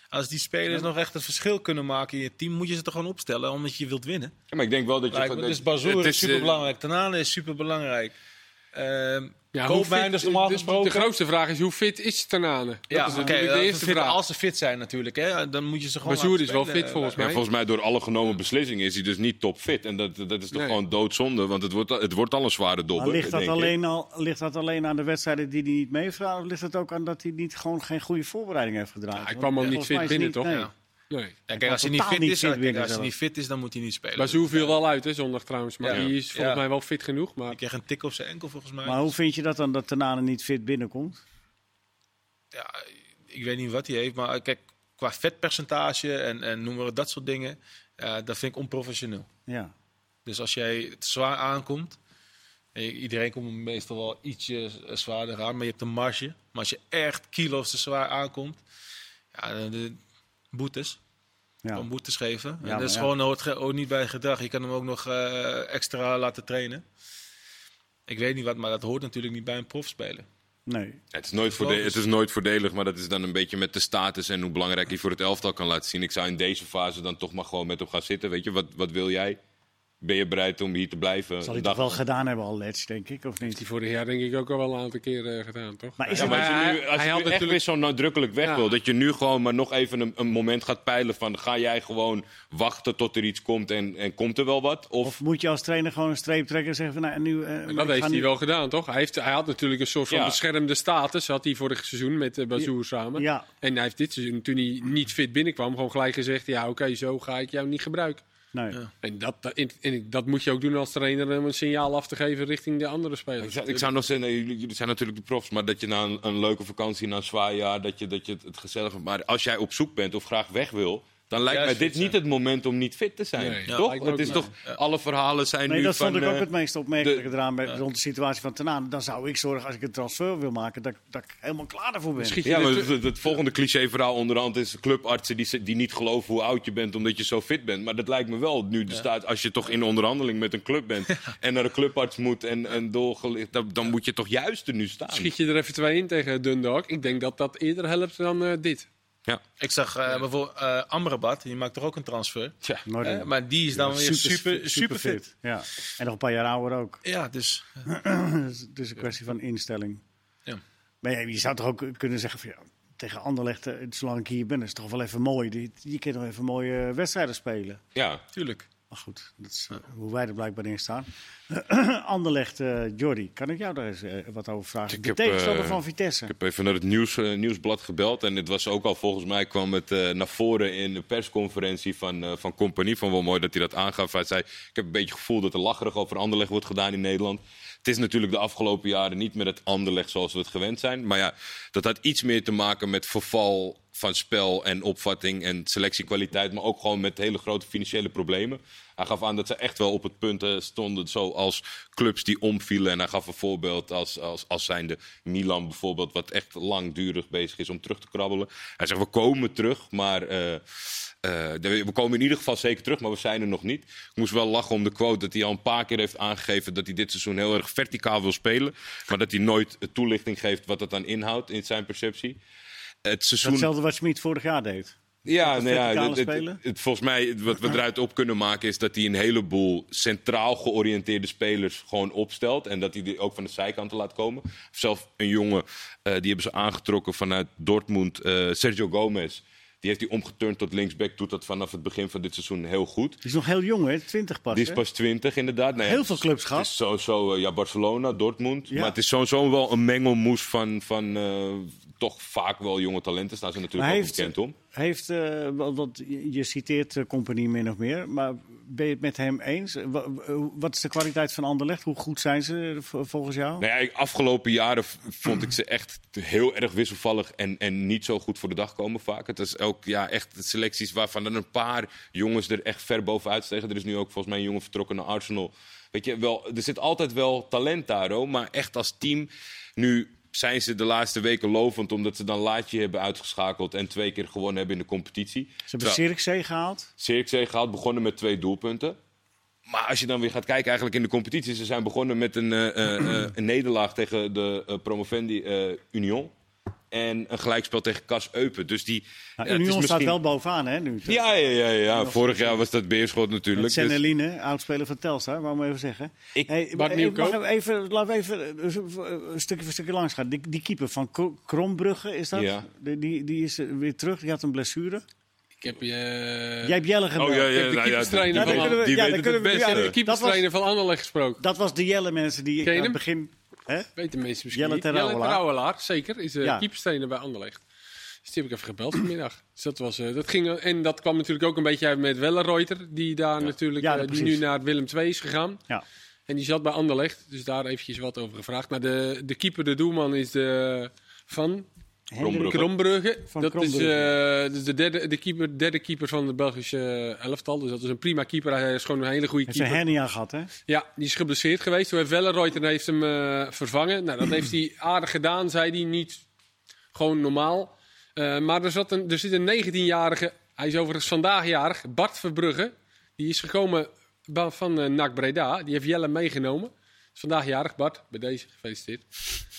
[SPEAKER 3] Als die spelers nog echt het verschil kunnen maken in je team, moet je ze toch gewoon opstellen, omdat je wilt winnen.
[SPEAKER 4] Ja, maar ik denk wel dat je...
[SPEAKER 3] Lijkt me.
[SPEAKER 4] dat-
[SPEAKER 3] Dus Bazoer
[SPEAKER 4] het
[SPEAKER 3] is
[SPEAKER 4] eh,
[SPEAKER 3] superbelangrijk. Tanane is superbelangrijk. Ehm
[SPEAKER 2] Ja, hoe
[SPEAKER 3] Koopmijn
[SPEAKER 2] fit-
[SPEAKER 3] is normaal
[SPEAKER 2] de- de-
[SPEAKER 3] gesproken...
[SPEAKER 2] De grootste vraag is, hoe fit is Tanane?
[SPEAKER 3] ja,
[SPEAKER 2] dat is
[SPEAKER 3] oké,
[SPEAKER 2] natuurlijk de
[SPEAKER 3] dat
[SPEAKER 2] eerste
[SPEAKER 3] fit-
[SPEAKER 2] vraag.
[SPEAKER 3] Als ze fit zijn natuurlijk, hè, dan moet je ze gewoon
[SPEAKER 2] Bazoer
[SPEAKER 3] laten
[SPEAKER 2] is wel
[SPEAKER 3] spelen. eh,
[SPEAKER 2] fit volgens
[SPEAKER 4] Ja,
[SPEAKER 2] mij.
[SPEAKER 4] volgens mij door alle genomen beslissingen is hij dus niet topfit. En dat, dat is toch
[SPEAKER 2] Nee.
[SPEAKER 4] gewoon doodzonde, want het wordt, al- het wordt al een zware dobber.
[SPEAKER 1] Maar ligt dat,
[SPEAKER 4] denk ik.
[SPEAKER 1] alleen al, ligt dat alleen aan de wedstrijden die hij niet meevraagt? Of ligt dat ook aan dat hij niet, gewoon geen goede voorbereiding heeft gedragen?
[SPEAKER 2] Ja, hij
[SPEAKER 1] Want
[SPEAKER 2] kwam ook niet
[SPEAKER 1] volgens mij
[SPEAKER 2] fit
[SPEAKER 1] is
[SPEAKER 2] binnen, toch?
[SPEAKER 1] nee.
[SPEAKER 2] Ja. Nee.
[SPEAKER 3] Ja, kijk,
[SPEAKER 1] kan
[SPEAKER 3] als hij niet
[SPEAKER 1] totaal
[SPEAKER 3] fit
[SPEAKER 1] niet
[SPEAKER 3] is,
[SPEAKER 1] fit
[SPEAKER 3] dan- kijk,
[SPEAKER 1] winnen
[SPEAKER 3] als hij
[SPEAKER 1] zelf.
[SPEAKER 3] niet fit is, dan moet hij niet spelen.
[SPEAKER 2] Bazoer viel wel uit, hè, zondag trouwens. Maar
[SPEAKER 3] Ja.
[SPEAKER 2] die is volgens
[SPEAKER 3] Ja.
[SPEAKER 2] mij wel fit genoeg. Maar
[SPEAKER 3] Ik kreeg een tik op zijn enkel volgens mij.
[SPEAKER 1] Maar hoe vind je dat dan dat Tanane niet fit binnenkomt?
[SPEAKER 3] ja, ik weet niet wat hij heeft, maar kijk, qua vetpercentage en, en noem maar op, dat soort dingen, eh, dat vind ik onprofessioneel.
[SPEAKER 1] Ja.
[SPEAKER 3] Dus als jij het zwaar aankomt, en je- iedereen komt meestal wel ietsje eh, zwaarder aan, maar je hebt een marge. Maar als je echt kilo's te zwaar aankomt, ja, dan de boetes.
[SPEAKER 1] ja.
[SPEAKER 3] Om boetes geven.
[SPEAKER 1] Ja,
[SPEAKER 3] en dat is
[SPEAKER 1] maar ja.
[SPEAKER 3] gewoon hoort ge- ook niet bij gedrag. Je kan hem ook nog eh, extra laten trainen. Ik weet niet wat, maar dat hoort natuurlijk niet bij een profspeler.
[SPEAKER 1] Nee.
[SPEAKER 4] Het is, nooit voorde- het is nooit voordelig, maar dat is dan een beetje met de status en hoe belangrijk hij voor het elftal kan laten zien. Ik zou in deze fase dan toch maar gewoon met hem gaan zitten. Weet je, wat, wat wil jij? Ben je bereid om hier te blijven?
[SPEAKER 1] Zal hij
[SPEAKER 4] Dag-
[SPEAKER 1] toch wel gedaan hebben al, Lets, denk ik, of
[SPEAKER 2] die
[SPEAKER 1] niet?
[SPEAKER 2] vorig jaar denk ik ook al wel een aantal keer eh, gedaan, toch?
[SPEAKER 1] Maar is
[SPEAKER 4] Ja,
[SPEAKER 1] het-
[SPEAKER 4] maar als je
[SPEAKER 2] Hij-
[SPEAKER 4] nu,
[SPEAKER 2] hij
[SPEAKER 4] als je
[SPEAKER 2] had
[SPEAKER 4] nu echt
[SPEAKER 2] natuurlijk-
[SPEAKER 4] weer zo nadrukkelijk weg
[SPEAKER 2] Ja.
[SPEAKER 4] wil, dat je nu gewoon maar nog even een, een moment gaat peilen van ga jij gewoon wachten tot er iets komt en, en komt er wel wat? Of,
[SPEAKER 1] Of moet je als trainer gewoon een streep trekken en zeggen van, nou, en nu... eh, ik
[SPEAKER 2] Dat
[SPEAKER 1] ga
[SPEAKER 2] heeft
[SPEAKER 1] nu-
[SPEAKER 2] hij wel gedaan, toch? Hij, heeft, hij had natuurlijk een soort van
[SPEAKER 4] Ja.
[SPEAKER 2] beschermde status. Had hij vorig seizoen met eh, Bazoer samen.
[SPEAKER 1] Ja.
[SPEAKER 2] En hij heeft dit seizoen, toen hij niet fit binnenkwam, gewoon gelijk gezegd: Ja, oké, zo ga ik jou niet gebruiken.
[SPEAKER 1] Nee.
[SPEAKER 2] En dat, dat- en, en dat moet je ook doen als trainer om een signaal af te geven richting de andere
[SPEAKER 4] Ik
[SPEAKER 2] spelers.
[SPEAKER 4] zou, ik zou nog zeggen, nee, jullie, jullie zijn natuurlijk de profs, maar dat je na een, een leuke vakantie, na een zwaar jaar, dat je, dat je het, het gezellig hebt. Maar als jij op zoek bent of graag weg wil, dan lijkt
[SPEAKER 3] Juist
[SPEAKER 4] mij dit
[SPEAKER 3] fit
[SPEAKER 4] niet het moment om niet fit te zijn.
[SPEAKER 2] Nee. Ja,
[SPEAKER 4] toch?
[SPEAKER 2] lijkt me
[SPEAKER 4] het
[SPEAKER 2] ook
[SPEAKER 4] is
[SPEAKER 2] niet.
[SPEAKER 4] toch, alle verhalen zijn
[SPEAKER 1] Nee,
[SPEAKER 4] nu
[SPEAKER 1] dat
[SPEAKER 4] van...
[SPEAKER 1] vond ik ook
[SPEAKER 4] eh,
[SPEAKER 1] het meest opmerkelijke
[SPEAKER 4] de-
[SPEAKER 1] eraan bij, rond de situatie van Tanaan. Dan zou ik zorgen als ik een transfer wil maken dat, ik- dat ik helemaal klaar daarvoor ben.
[SPEAKER 2] Schiet je
[SPEAKER 4] ja, maar
[SPEAKER 2] er
[SPEAKER 4] het, het- het volgende cliché-verhaal onderhand is clubartsen die, ze- die niet geloven hoe oud je bent omdat je zo fit bent. Maar dat lijkt me wel nu de staat, als je toch in onderhandeling met een club bent en naar een clubarts moet en, en doorgelicht, dan, dan moet je toch juist er nu staan.
[SPEAKER 2] Schiet je er even twee in tegen Dundalk? Ik denk dat dat eerder helpt dan eh, dit.
[SPEAKER 4] Ja.
[SPEAKER 3] Ik zag eh, bijvoorbeeld eh, Amrabat, die maakt toch ook een transfer.
[SPEAKER 4] Tja.
[SPEAKER 1] Noorden.
[SPEAKER 3] Eh, maar die is dan weer super, super, fit.
[SPEAKER 1] Ja. En nog een paar jaar ouder ook.
[SPEAKER 3] Ja, dus
[SPEAKER 1] dus het is een kwestie van instelling.
[SPEAKER 3] Ja.
[SPEAKER 1] Maar ja, je zou toch ook kunnen zeggen van, ja, tegen Anderlecht, eh, zolang ik hier ben, is het toch wel even mooi. Die- Je kunt nog even mooie eh, wedstrijden spelen.
[SPEAKER 4] ja,
[SPEAKER 3] tuurlijk.
[SPEAKER 1] Maar goed, dat is eh, hoe wij er blijkbaar in staan. Anderlecht, eh Jordi, kan ik jou daar eens eh, wat over vragen?
[SPEAKER 4] Ik
[SPEAKER 1] de
[SPEAKER 4] heb,
[SPEAKER 1] tegenstander
[SPEAKER 4] eh,
[SPEAKER 1] van Vitesse.
[SPEAKER 4] Ik heb even naar het nieuws, eh, nieuwsblad gebeld. En het was ook al, volgens mij kwam het eh, naar voren in de persconferentie van, eh van Compagnie. Van wel mooi dat hij dat aangaf. Hij zei, ik heb een beetje het gevoel dat er lacherig over Anderlecht wordt gedaan in Nederland. Het is natuurlijk de afgelopen jaren niet meer het Anderlecht zoals we het gewend zijn. Maar ja, dat had iets meer te maken met verval van spel en opvatting en selectiekwaliteit. Maar ook gewoon met hele grote financiële problemen. Hij gaf aan dat ze echt wel op het punt eh, stonden zoals clubs die omvielen. En hij gaf een voorbeeld als, als, als zijnde Milan bijvoorbeeld, wat echt langdurig bezig is om terug te krabbelen. Hij zegt, we komen terug, maar... eh, eh, de- we komen in ieder geval zeker terug, maar we zijn er nog niet. Ik moest wel lachen om de quote dat hij al een paar keer heeft aangegeven dat hij dit seizoen heel erg verticaal wil spelen. Maar dat hij nooit eh, toelichting geeft wat dat dan inhoudt in zijn perceptie. Het seizoen.
[SPEAKER 1] Hetzelfde wat Schmid vorig jaar deed.
[SPEAKER 4] Ja,
[SPEAKER 1] Dat
[SPEAKER 4] nou ja
[SPEAKER 1] verticale
[SPEAKER 4] het, het-
[SPEAKER 1] spelen?
[SPEAKER 4] het- volgens mij, het- wat we eruit op kunnen maken, is dat hij een heleboel centraal georiënteerde spelers gewoon opstelt. En dat hij die ook van de zijkanten laat komen. Zelf een jongen, eh, die hebben ze aangetrokken vanuit Dortmund, eh, Sergio Gomez. Die heeft hij omgeturnd tot linksback. Doet dat vanaf het begin van dit seizoen heel goed.
[SPEAKER 1] Die is nog heel jong, hè? 20 pas.
[SPEAKER 4] Die is
[SPEAKER 1] hè?
[SPEAKER 4] pas 20, inderdaad. Nou ja,
[SPEAKER 1] Heel veel clubs
[SPEAKER 4] het
[SPEAKER 1] gehad.
[SPEAKER 4] is sowieso eh, ja, Barcelona, Dortmund.
[SPEAKER 1] Ja.
[SPEAKER 4] Maar het is sowieso wel een mengelmoes van, van eh, toch vaak wel jonge talenten. Staan ze
[SPEAKER 1] Maar
[SPEAKER 4] natuurlijk
[SPEAKER 1] hij
[SPEAKER 4] ook
[SPEAKER 1] heeft,
[SPEAKER 4] bekend om.
[SPEAKER 1] heeft eh, wat, wat- je- je citeert eh, Compagnie min of meer, maar ben je het met hem eens? Eh, wa- eh, wat is de kwaliteit van Anderlecht? Hoe goed zijn ze eh, v- volgens jou?
[SPEAKER 4] Nou ja, ik- afgelopen jaren v- vond ik ze echt heel erg wisselvallig en, en niet zo goed voor de dag komen vaak. Het is ook ja, echt selecties waarvan dan een paar jongens er echt ver bovenuit stegen. Er is nu ook volgens mij een jongen vertrokken naar Arsenal. Weet je, wel, er zit altijd wel talent daar, hoor, maar echt als team nu zijn ze de laatste weken lovend omdat ze dan Laatje hebben uitgeschakeld en twee keer gewonnen hebben in de competitie.
[SPEAKER 1] Ze hebben
[SPEAKER 4] Terwijl-
[SPEAKER 1] Zirkzee gehaald.
[SPEAKER 4] Zirkzee gehaald, begonnen met twee doelpunten. Maar als je dan weer gaat kijken eigenlijk in de competitie... ze zijn begonnen met een, eh, eh, eh, een nederlaag tegen de eh, promovendi eh, Union. En een gelijkspel tegen Cas Eupen. Dus die...
[SPEAKER 1] Nou,
[SPEAKER 4] ja, het is
[SPEAKER 1] Union staat
[SPEAKER 4] misschien-
[SPEAKER 1] wel bovenaan, hè? Nu.
[SPEAKER 4] Ja, ja, ja. ja, ja. Vorig jaar was dat Beerschot natuurlijk.
[SPEAKER 1] Met
[SPEAKER 4] Dus-
[SPEAKER 1] Seneline, oudspeler van Telstar, wou ik maar even zeggen.
[SPEAKER 4] Ik-
[SPEAKER 2] Bart
[SPEAKER 1] eh,
[SPEAKER 2] Nieuwkoop.
[SPEAKER 1] mag ik even, laten we even eh, eh, een stukje voor stukje langs gaan. Die, die keeper van Kro- Krombrugge, is dat?
[SPEAKER 4] Ja.
[SPEAKER 1] Die, die, die is eh, weer terug, die had een blessure.
[SPEAKER 2] Ik heb je...
[SPEAKER 1] Jij hebt Jelle gebeld.
[SPEAKER 4] Oh ja, ja,
[SPEAKER 2] heb de
[SPEAKER 4] nou ja, die,
[SPEAKER 2] keeperstrainer van-
[SPEAKER 1] Ja,
[SPEAKER 4] die
[SPEAKER 1] dan
[SPEAKER 4] weet het
[SPEAKER 1] kunnen
[SPEAKER 4] het
[SPEAKER 1] we- ja,
[SPEAKER 4] beste.
[SPEAKER 1] dan
[SPEAKER 2] de keeperstrainer van Anderlecht gesproken.
[SPEAKER 1] Dat was de Jelle, mensen, die ik
[SPEAKER 2] Ken
[SPEAKER 1] aan
[SPEAKER 2] je
[SPEAKER 1] het
[SPEAKER 2] hem?
[SPEAKER 1] begin... Hè?
[SPEAKER 2] Weten mensen misschien
[SPEAKER 1] Jelle
[SPEAKER 2] niet.
[SPEAKER 1] Terouwelaar.
[SPEAKER 2] Terouwelaar, zeker, is eh
[SPEAKER 1] Ja.
[SPEAKER 2] keeperstrainer bij Anderlecht. Dus die heb ik even gebeld vanmiddag. Dus dat was, eh, dat ging, en dat kwam natuurlijk ook een beetje uit met Wellenreuter, die daar natuurlijk
[SPEAKER 1] Ja,
[SPEAKER 2] eh, die
[SPEAKER 1] precies.
[SPEAKER 2] nu naar Willem II is gegaan.
[SPEAKER 1] Ja.
[SPEAKER 2] En die zat bij Anderlecht, dus daar eventjes wat over gevraagd. Maar de, de keeper, de doelman, is de, van
[SPEAKER 1] Hendrik
[SPEAKER 4] Krombrugge.
[SPEAKER 2] Krombrugge.
[SPEAKER 1] Van
[SPEAKER 2] dat is
[SPEAKER 1] Krombrugge.
[SPEAKER 2] eh, dus de, derde, de keeper, derde keeper van het Belgische elftal. Dus dat is een prima keeper. Hij is gewoon een hele goede
[SPEAKER 1] heeft een
[SPEAKER 2] keeper.
[SPEAKER 1] hernia gehad, hè?
[SPEAKER 2] Ja, die is geblesseerd geweest. Toen heeft Wellenreuter heeft hem eh, vervangen. Nou, dat heeft hij aardig gedaan, zei hij. Niet gewoon normaal. Eh, maar er, zat een, er zit een 19-jarige, hij is overigens vandaag jarig, Bart Verbrugge. Die is gekomen ba- van eh NAC Breda. Die heeft Jelle meegenomen. Is vandaag jarig, Bart. Bij deze gefeliciteerd.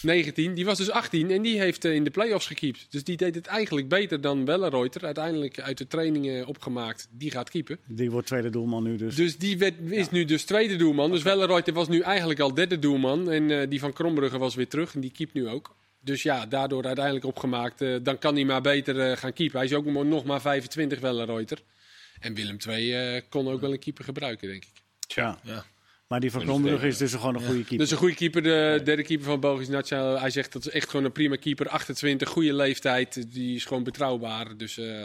[SPEAKER 2] 19. Die was dus 18 en die heeft eh, in de play-offs gekiept. Dus die deed het eigenlijk beter dan Wellenreuter. Uiteindelijk uit de trainingen opgemaakt. Die gaat keepen.
[SPEAKER 1] Die wordt tweede doelman nu dus.
[SPEAKER 2] Dus die werd, is nu dus tweede doelman. Dus Welleroyte was nu eigenlijk al derde doelman. En eh, die van Krombrugge was weer terug. En die keept nu ook. Dus ja, daardoor uiteindelijk opgemaakt. eh, dan kan hij maar beter eh, gaan keepen. Hij is ook mo- nog maar 25 Welleroyter. En Willem II eh, kon ook wel een keeper gebruiken, denk ik.
[SPEAKER 1] ja.
[SPEAKER 3] Ja.
[SPEAKER 1] Maar die van Krombrugge is dus gewoon een goede keeper.
[SPEAKER 2] Dus een goede keeper, de derde keeper van Belgisch Nationaal. Hij zegt dat is echt gewoon een prima keeper. 28, goede leeftijd. Die is gewoon betrouwbaar. Dus eh,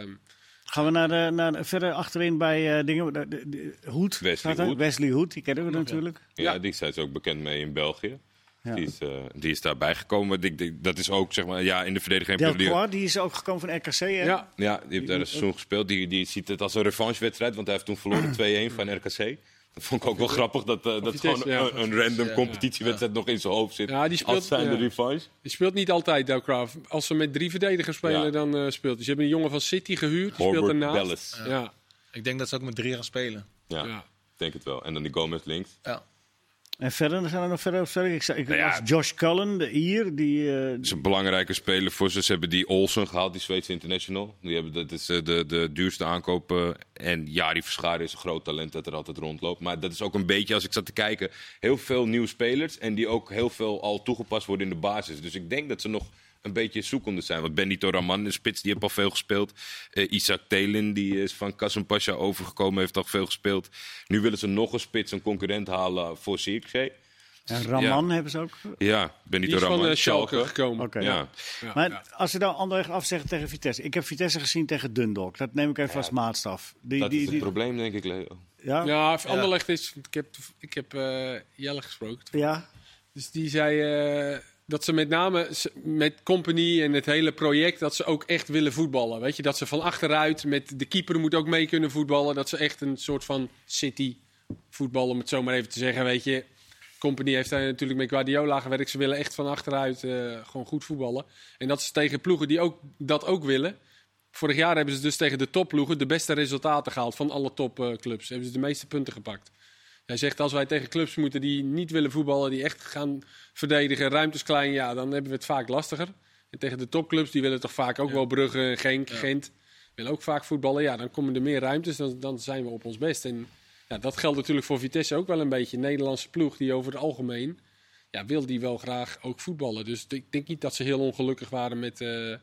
[SPEAKER 1] Gaan we naar, de, naar de- verder achterin bij eh, dingen. De, de- de- Hoed.
[SPEAKER 4] Wesley
[SPEAKER 1] staat er.
[SPEAKER 4] Hoed.
[SPEAKER 1] Wesley Hoed, die kennen we natuurlijk.
[SPEAKER 4] Ja, die zijn ze ook bekend mee in België.
[SPEAKER 1] Ja.
[SPEAKER 4] Die, is, eh, die is daarbij gekomen. Ik denk- dat is ook, zeg maar, ja, in de verdediging... heb je die-
[SPEAKER 1] Delcroix, die is ook gekomen van RKC. Hè?
[SPEAKER 2] ja,
[SPEAKER 4] Ja, die heeft daar een seizoen gespeeld. Die, die ziet het als een revanchewedstrijd, want hij heeft toen verloren 2-1 van RKC. Dat vond ik ook wel grappig, dat, eh, dat
[SPEAKER 2] Vitesse,
[SPEAKER 4] gewoon
[SPEAKER 2] ja.
[SPEAKER 4] een, een random competitiewedstrijd nog in zijn hoofd zit.
[SPEAKER 2] Ja, die speelt-
[SPEAKER 4] als zijn de
[SPEAKER 2] ja.
[SPEAKER 4] revanche.
[SPEAKER 2] Die speelt niet altijd, Delcraft. Als ze met drie verdedigers spelen,
[SPEAKER 4] Ja.
[SPEAKER 2] dan eh, speelt hij. Ze hebben een jongen van City gehuurd. Die
[SPEAKER 4] Horbert
[SPEAKER 2] speelt ernaast.
[SPEAKER 4] Bellis.
[SPEAKER 2] Ja. Ja.
[SPEAKER 3] Ik denk dat ze ook met drie gaan spelen.
[SPEAKER 4] Ja,
[SPEAKER 2] Ja.
[SPEAKER 4] ik denk het wel. En dan die Gomez links.
[SPEAKER 3] Ja.
[SPEAKER 1] En verder gaan we nog verder. verder. Ik, zei- ik
[SPEAKER 4] Nou ja.
[SPEAKER 1] las Josh Cullen, de Ier, die. eh,
[SPEAKER 4] Dat is een belangrijke speler voor ze. Ze hebben die Olsen gehaald, die Zweedse international. Die hebben, dat is eh, de, de duurste aankoop. eh, En Jari Verscharen is een groot talent dat er altijd rondloopt. Maar dat is ook een beetje, als ik zat te kijken, heel veel nieuwe spelers. En die ook heel veel al toegepast worden in de basis. Dus ik denk dat ze nog een beetje zoekende zijn. Want Benito Raman, de spits, die heeft al veel gespeeld. Eh, Isaac Telin, die is van Kassenpasja overgekomen, heeft al veel gespeeld. Nu willen ze nog een spits, een concurrent halen voor Zirkzee.
[SPEAKER 1] en Raman hebben ze ook. Oké.
[SPEAKER 4] Ja,
[SPEAKER 2] Die
[SPEAKER 4] Benito
[SPEAKER 2] is
[SPEAKER 4] Raman.
[SPEAKER 2] van eh, Schalke
[SPEAKER 4] Schalke.
[SPEAKER 2] gekomen.
[SPEAKER 4] Ja.
[SPEAKER 2] Ja,
[SPEAKER 1] Maar
[SPEAKER 2] ja.
[SPEAKER 1] als ze dan Anderlecht afzeggen tegen Vitesse. Ik heb Vitesse gezien tegen Dundalk. Dat neem ik even als maatstaf. Die,
[SPEAKER 4] Dat
[SPEAKER 1] die,
[SPEAKER 4] is het
[SPEAKER 1] die-
[SPEAKER 4] probleem, denk ik, Leo.
[SPEAKER 1] ja? Ja.
[SPEAKER 2] Ja, Anderlecht is... Ik heb, ik heb eh, Jelle gesproken. Dus die zei eh, dat ze met name s- met Company en het hele project... dat ze ook echt willen voetballen. Weet je, dat ze van achteruit met de keeper moet ook mee kunnen voetballen. Dat ze echt een soort van city voetbal, om het zo maar even te zeggen. Weet je, Company heeft daar natuurlijk met Guardiola gewerkt. Ze willen echt van achteruit eh, gewoon goed voetballen. En dat is tegen ploegen die ook, dat ook willen. Vorig jaar hebben ze dus tegen de topploegen de beste resultaten gehaald van alle topclubs. hebben ze de meeste punten gepakt. Hij zegt als wij tegen clubs moeten die niet willen voetballen, die echt gaan verdedigen, ruimtes klein, ja, dan hebben we het vaak lastiger. En tegen de topclubs, die willen toch vaak ook wel Brugge, Genk, Gent, willen ook vaak voetballen. Ja, dan komen er meer ruimtes, dan, dan zijn we op ons best. En ja, dat geldt natuurlijk voor Vitesse ook wel een beetje. Een Nederlandse ploeg die over het algemeen, ja, wil die wel graag ook voetballen. Dus ik denk niet dat ze heel ongelukkig waren met, eh,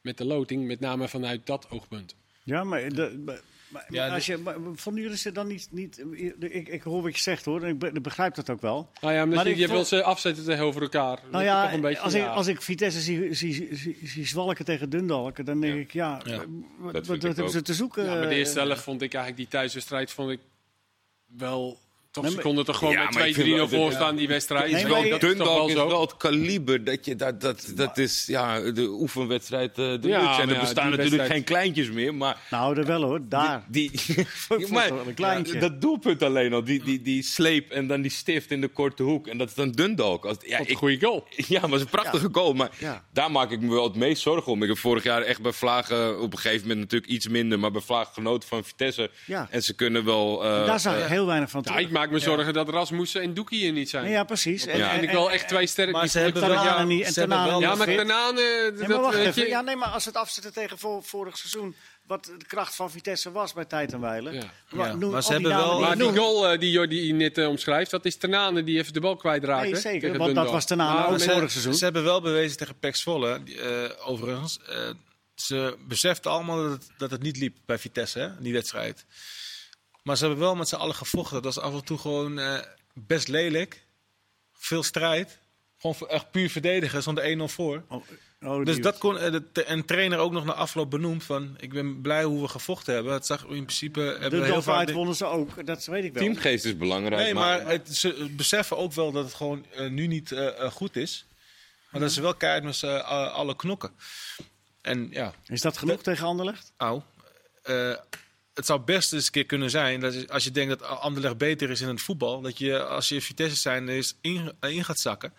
[SPEAKER 2] met de loting, met name vanuit dat oogpunt.
[SPEAKER 1] Ja, maar, eh, de- maar- maar
[SPEAKER 3] Ja, de-
[SPEAKER 1] als je, maar vonden jullie ze dan niet... niet eh, ik, ik hoor wat je zegt hoor, en ik be- ik begrijp dat ook wel.
[SPEAKER 2] Nou ja, omdat
[SPEAKER 1] Maar
[SPEAKER 2] je,
[SPEAKER 1] ik
[SPEAKER 2] je
[SPEAKER 1] vond-
[SPEAKER 2] wil ze afzetten tegenover elkaar. Dat
[SPEAKER 1] Nou
[SPEAKER 2] is
[SPEAKER 1] ja,
[SPEAKER 2] toch een beetje,
[SPEAKER 1] als,
[SPEAKER 2] ja.
[SPEAKER 1] Ik, als ik Vitesse zie, zie, zie, zie zwalken tegen Dundalken, dan denk ik, ja, wat-
[SPEAKER 3] Ja.
[SPEAKER 1] wat,
[SPEAKER 4] vind
[SPEAKER 1] wat
[SPEAKER 4] ik
[SPEAKER 1] hebben
[SPEAKER 4] ook.
[SPEAKER 1] ze te zoeken?
[SPEAKER 2] Ja, maar de eerste
[SPEAKER 1] eh,
[SPEAKER 2] helft vond ik eigenlijk die thuiswedstrijd vond ik wel. Toch,
[SPEAKER 1] Nee,
[SPEAKER 2] ze
[SPEAKER 1] maar-
[SPEAKER 2] konden toch gewoon
[SPEAKER 4] Ja, maar ik
[SPEAKER 2] met 2-3-0
[SPEAKER 4] vind wel-
[SPEAKER 2] voorstaan, die wedstrijd.
[SPEAKER 1] Nee,
[SPEAKER 2] Zo,
[SPEAKER 1] maar-
[SPEAKER 2] dat is toch wel
[SPEAKER 4] Dundalk is
[SPEAKER 2] zo.
[SPEAKER 4] wel het kaliber. Dat, je, dat, dat, dat is ja, de oefenwedstrijd. eh, De
[SPEAKER 2] Ja,
[SPEAKER 4] luxe. en
[SPEAKER 2] maar
[SPEAKER 4] er
[SPEAKER 2] ja,
[SPEAKER 4] bestaan
[SPEAKER 2] die
[SPEAKER 4] natuurlijk
[SPEAKER 2] wedstrijd-
[SPEAKER 4] geen kleintjes meer. Maar
[SPEAKER 1] Nou, dat wel hoor, daar.
[SPEAKER 4] die,
[SPEAKER 1] vond het wel een kleintje.
[SPEAKER 4] Ja, dat doelpunt alleen al. Die, die, die sleep en dan die stift in de korte hoek. En dat is dan Dundalk. Als, ja,
[SPEAKER 2] Wat een
[SPEAKER 4] ik,
[SPEAKER 2] goede goal.
[SPEAKER 4] Ja, maar het is een prachtige goal. Maar
[SPEAKER 1] Ja.
[SPEAKER 4] daar maak ik me wel het meest zorgen om. Ik heb vorig jaar echt bij Vlagen op een gegeven moment natuurlijk iets minder. Maar bij Vlagen genoten van Vitesse.
[SPEAKER 1] Ja.
[SPEAKER 4] En ze kunnen wel... eh,
[SPEAKER 1] Daar zag ik heel weinig van
[SPEAKER 2] Ja,
[SPEAKER 1] terug.
[SPEAKER 2] ik maak me zorgen dat Rasmussen en Doekie hier niet zijn.
[SPEAKER 1] Nee, ja, precies.
[SPEAKER 4] Ja.
[SPEAKER 2] En ik wil echt twee sterren.
[SPEAKER 3] Maar
[SPEAKER 2] die
[SPEAKER 3] ze
[SPEAKER 2] vond ik
[SPEAKER 3] hebben wel-
[SPEAKER 2] vorig
[SPEAKER 1] Tanane
[SPEAKER 2] jaar-
[SPEAKER 1] niet en
[SPEAKER 3] ze hebben
[SPEAKER 1] Tanane
[SPEAKER 2] Ja,
[SPEAKER 3] wel-
[SPEAKER 1] niet
[SPEAKER 2] maar
[SPEAKER 1] fit.
[SPEAKER 2] Tanane,
[SPEAKER 1] Nee, maar
[SPEAKER 2] dat
[SPEAKER 1] wacht
[SPEAKER 2] weet
[SPEAKER 1] even.
[SPEAKER 2] je.
[SPEAKER 1] Ja, nee, maar als het afzetten tegen vor- vorig seizoen, wat de kracht van Vitesse was bij tijd en weilen.
[SPEAKER 2] Ja.
[SPEAKER 3] Ja,
[SPEAKER 1] noem
[SPEAKER 3] maar ze
[SPEAKER 1] al die
[SPEAKER 3] hebben
[SPEAKER 1] namen
[SPEAKER 3] wel-
[SPEAKER 1] die
[SPEAKER 2] Maar
[SPEAKER 1] nou, ik
[SPEAKER 2] die
[SPEAKER 1] noem.
[SPEAKER 2] goal eh, die Jordi net eh, omschrijft, dat is Tanane die even de bal kwijtraakte.
[SPEAKER 1] Nee, zeker,
[SPEAKER 2] tegen
[SPEAKER 1] want dat
[SPEAKER 2] Dundalk.
[SPEAKER 1] was Tanane
[SPEAKER 2] Maar
[SPEAKER 1] ook
[SPEAKER 2] met-
[SPEAKER 1] zo. vorig seizoen.
[SPEAKER 3] Ze hebben wel bewezen tegen Pek Zwolle, die, eh, overigens. eh, ze beseften allemaal dat het, dat het niet liep bij Vitesse, hè, die wedstrijd. Maar ze hebben wel met z'n allen gevochten. Dat is af en toe gewoon eh, best lelijk. Veel strijd. Gewoon voor- echt puur verdedigen, zonder 1-0 voor.
[SPEAKER 1] Oh, oh, die-
[SPEAKER 3] Dus dat kon eh, de, de- en trainer ook nog na afloop benoemd van... ik ben blij hoe we gevochten hebben. Het zag in principe...
[SPEAKER 1] de
[SPEAKER 3] Hebben we heel
[SPEAKER 1] Delft
[SPEAKER 3] vaak
[SPEAKER 1] uit
[SPEAKER 3] de-
[SPEAKER 1] wonnen ze ook, dat weet ik wel.
[SPEAKER 4] Teamgeest is belangrijk.
[SPEAKER 3] Nee, maar het, ze beseffen ook wel dat het gewoon eh, nu niet eh, eh, goed is. Maar dat ze wel keihard met z'n eh, alle knokken. En ja,
[SPEAKER 1] Is dat genoeg tegen Anderlecht?
[SPEAKER 3] au. Eh, het zou best eens een keer kunnen zijn dat je- als je denkt dat Anderlecht beter is in het voetbal, dat je als je Vitesse zijn is in, eh, in gaat zakken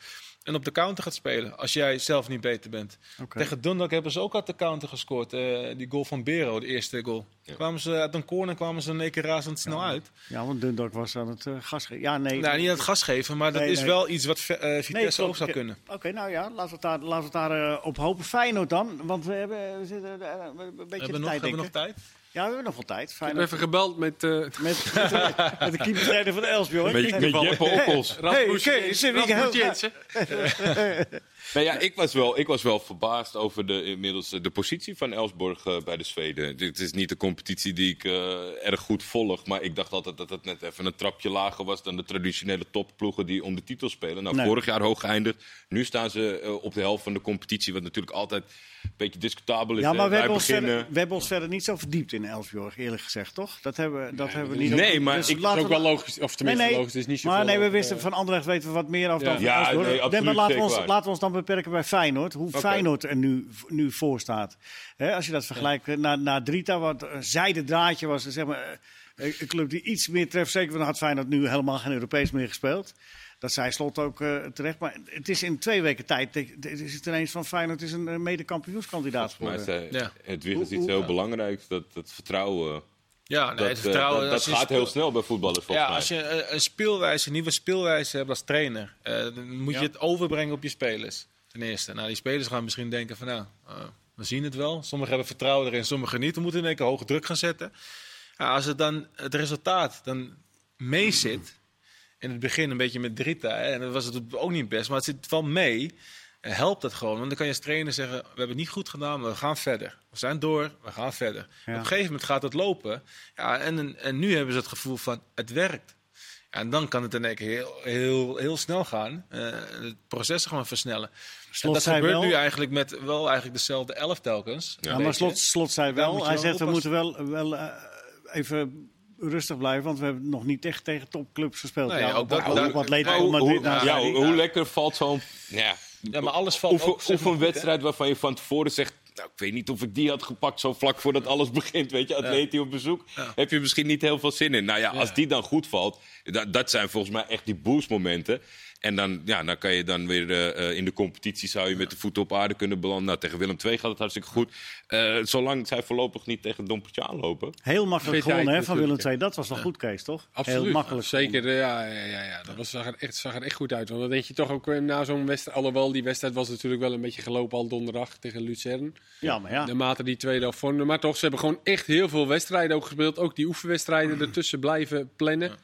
[SPEAKER 3] en op de counter gaat spelen als jij zelf niet beter bent.
[SPEAKER 1] Oké.
[SPEAKER 3] Tegen Dundalk hebben ze ook uit de counter gescoord. eh, die goal van Bero, de eerste goal. Kwamen ze uit een corner kwamen ze in één keer razend snel uit.
[SPEAKER 1] Ja, want Dundalk was aan het eh, gas. ge- Ja, nee.
[SPEAKER 3] Nou, niet aan het gas geven, maar dat
[SPEAKER 1] Nee,
[SPEAKER 3] is
[SPEAKER 1] nee.
[SPEAKER 3] wel iets wat Ve- eh,
[SPEAKER 1] Nee,
[SPEAKER 3] Vitesse ook
[SPEAKER 1] klopt.
[SPEAKER 3] zou
[SPEAKER 1] Oké.
[SPEAKER 3] kunnen.
[SPEAKER 1] Oké, nou ja, laten we het daar, laten we het daar eh, op hopen. Feyenoord dan, want we hebben we zitten, eh, een beetje de
[SPEAKER 3] Hebben we, nog,
[SPEAKER 1] tijd,
[SPEAKER 3] hebben we
[SPEAKER 1] denk
[SPEAKER 3] nog
[SPEAKER 1] ik.
[SPEAKER 3] tijd?
[SPEAKER 1] Ja, we hebben nog wel tijd.
[SPEAKER 2] Ik heb
[SPEAKER 1] Feyenoord
[SPEAKER 2] even gebeld met eh,
[SPEAKER 1] met, met, de- met de keepertrainer van Elfsborg.
[SPEAKER 4] Met, met Jeppe Okkels.
[SPEAKER 2] Rasmussen.
[SPEAKER 1] Kees, heb ik
[SPEAKER 2] Rasmussen
[SPEAKER 1] heel-
[SPEAKER 2] Jensen.
[SPEAKER 4] Nou ja, ik was, wel, ik was wel verbaasd over de, inmiddels eh, de positie van Elsborg eh, bij de Zweden. Dit is niet de competitie die ik eh, erg goed volg. Maar ik dacht altijd dat het net even een trapje lager was dan de traditionele topploegen die om de titel spelen. Nou,
[SPEAKER 1] Nee.
[SPEAKER 4] vorig jaar hoog geëindigd. Nu staan ze eh, op de helft van de competitie. Wat natuurlijk altijd een beetje discutabel is.
[SPEAKER 1] Ja,
[SPEAKER 4] dus, hè.
[SPEAKER 1] maar we
[SPEAKER 4] Wij
[SPEAKER 1] hebben, ons
[SPEAKER 4] beginnen-
[SPEAKER 1] verder, we hebben ons verder niet zo verdiept in Elfsborg, eerlijk gezegd, toch? Dat hebben, we- dat hebben we niet. dus
[SPEAKER 4] Nee, maar ik-
[SPEAKER 2] Dat is
[SPEAKER 1] laten
[SPEAKER 2] ook
[SPEAKER 1] we-
[SPEAKER 2] wel logisch. Of tenminste logisch, het is niet zo
[SPEAKER 1] maar nee, we wisten van Anderlecht weten we wat meer af dan
[SPEAKER 2] Ja.
[SPEAKER 1] van
[SPEAKER 4] Ja,
[SPEAKER 1] Elfsborg.
[SPEAKER 4] nee, absoluut,
[SPEAKER 1] maar laten we,
[SPEAKER 4] zeker
[SPEAKER 1] ons,
[SPEAKER 4] waar.
[SPEAKER 1] laten we ons dan beperken bij Feyenoord. Hoe Feyenoord er nu, nu voor staat. Hè, als je dat vergelijkt eh, naar, naar Drita, wat een zijde draadje was. Zeg maar, eh, een club die iets meer treft. Zeker, want dan had Feyenoord nu helemaal geen Europees meer gespeeld. Dat zei Slot ook eh, terecht. Maar het is in twee weken tijd. eh, Is het ineens van Feyenoord is een eh, mede-kampioenskandidaat
[SPEAKER 4] Maar
[SPEAKER 1] geworden.
[SPEAKER 4] zij-
[SPEAKER 3] Ja.
[SPEAKER 4] het is iets heel belangrijks, dat, dat vertrouwen.
[SPEAKER 3] Ja, nee,
[SPEAKER 4] Dat,
[SPEAKER 3] het
[SPEAKER 4] eh,
[SPEAKER 3] vertrouwen,
[SPEAKER 4] dat,
[SPEAKER 3] als
[SPEAKER 4] dat
[SPEAKER 3] je
[SPEAKER 4] gaat
[SPEAKER 3] speel-
[SPEAKER 4] heel snel bij voetballers volgens
[SPEAKER 3] Ja,
[SPEAKER 4] mij.
[SPEAKER 3] als je eh, een speelwijze, een nieuwe speelwijze hebt als trainer, eh, dan moet je het overbrengen op je spelers. Ten eerste. Nou, die spelers gaan misschien denken van nou, eh, we zien het wel. Sommigen hebben vertrouwen erin, sommigen niet. We moeten in één keer hoge druk gaan zetten. Ja, als het dan het resultaat dan mee zit, in het begin een beetje met Drita, hè, en dat was het ook niet best, maar het zit wel mee. eh, Helpt dat gewoon, want dan kan je als trainer zeggen: We hebben het niet goed gedaan, maar we gaan verder. We zijn door, we gaan verder. Op een gegeven moment gaat het lopen. Ja, en, en nu hebben ze het gevoel van: Het werkt. Ja, en dan kan het in één keer heel, heel, heel snel gaan. Eh het proces gaan versnellen. En
[SPEAKER 1] Slot
[SPEAKER 3] dat
[SPEAKER 1] zei
[SPEAKER 3] gebeurt
[SPEAKER 1] wel-
[SPEAKER 3] nu eigenlijk met wel eigenlijk dezelfde elf telkens.
[SPEAKER 1] Ja, maar slot, slot zei
[SPEAKER 3] Daar
[SPEAKER 1] wel.
[SPEAKER 3] moet je
[SPEAKER 1] Hij
[SPEAKER 3] wel
[SPEAKER 1] zegt we moeten
[SPEAKER 3] oppassen.
[SPEAKER 1] wel, wel eh, even rustig blijven, want we hebben nog niet echt tegen topclubs gespeeld.
[SPEAKER 3] Nee,
[SPEAKER 1] ja,
[SPEAKER 3] ook
[SPEAKER 1] ook wat,
[SPEAKER 3] dat- daar-
[SPEAKER 1] wat leed
[SPEAKER 4] Maar
[SPEAKER 1] om
[SPEAKER 4] hoe,
[SPEAKER 1] Madrid
[SPEAKER 4] Oh, hoe-
[SPEAKER 1] naar
[SPEAKER 4] ja,
[SPEAKER 1] Sarri.
[SPEAKER 4] hoe lekker valt zo'n ja,
[SPEAKER 3] Ja, maar alles valt
[SPEAKER 4] oefen,
[SPEAKER 3] ook, zeg maar, goed,
[SPEAKER 4] oefenwedstrijd waarvan je van tevoren zegt... Nou, ik weet niet of ik die had gepakt zo vlak voordat alles begint. Weet je, Atleti op bezoek. Heb je misschien niet heel veel zin in. Nou ja, als die dan goed valt, da- dat zijn volgens mij echt die boostmomenten. En dan, ja, dan kan je dan weer eh, eh, in de competitie zou je met de voeten op aarde kunnen belanden. Nou, tegen Willem II gaat het hartstikke goed. Eh, zolang zij voorlopig niet tegen Dompertje aanlopen.
[SPEAKER 1] Heel makkelijk
[SPEAKER 2] Fitheid
[SPEAKER 1] gewonnen hè, van Willem
[SPEAKER 2] natuurlijk,
[SPEAKER 1] II. Dat was wel goed, Kees, toch?
[SPEAKER 2] Absoluut.
[SPEAKER 1] Heel makkelijk.
[SPEAKER 2] Zeker, eh, ja, ja, ja, ja. dat was, zag, er echt, zag er echt goed uit. Want dan denk je toch ook eh, na zo'n wedstrijd... Alhoewel, die wedstrijd was natuurlijk wel een beetje gelopen al donderdag tegen Lucerne.
[SPEAKER 1] Ja, maar ja.
[SPEAKER 2] Naarmate die tweede helft vormde. Maar toch, ze hebben gewoon echt heel veel wedstrijden ook gespeeld. Ook die oefenwedstrijden ertussen blijven plannen.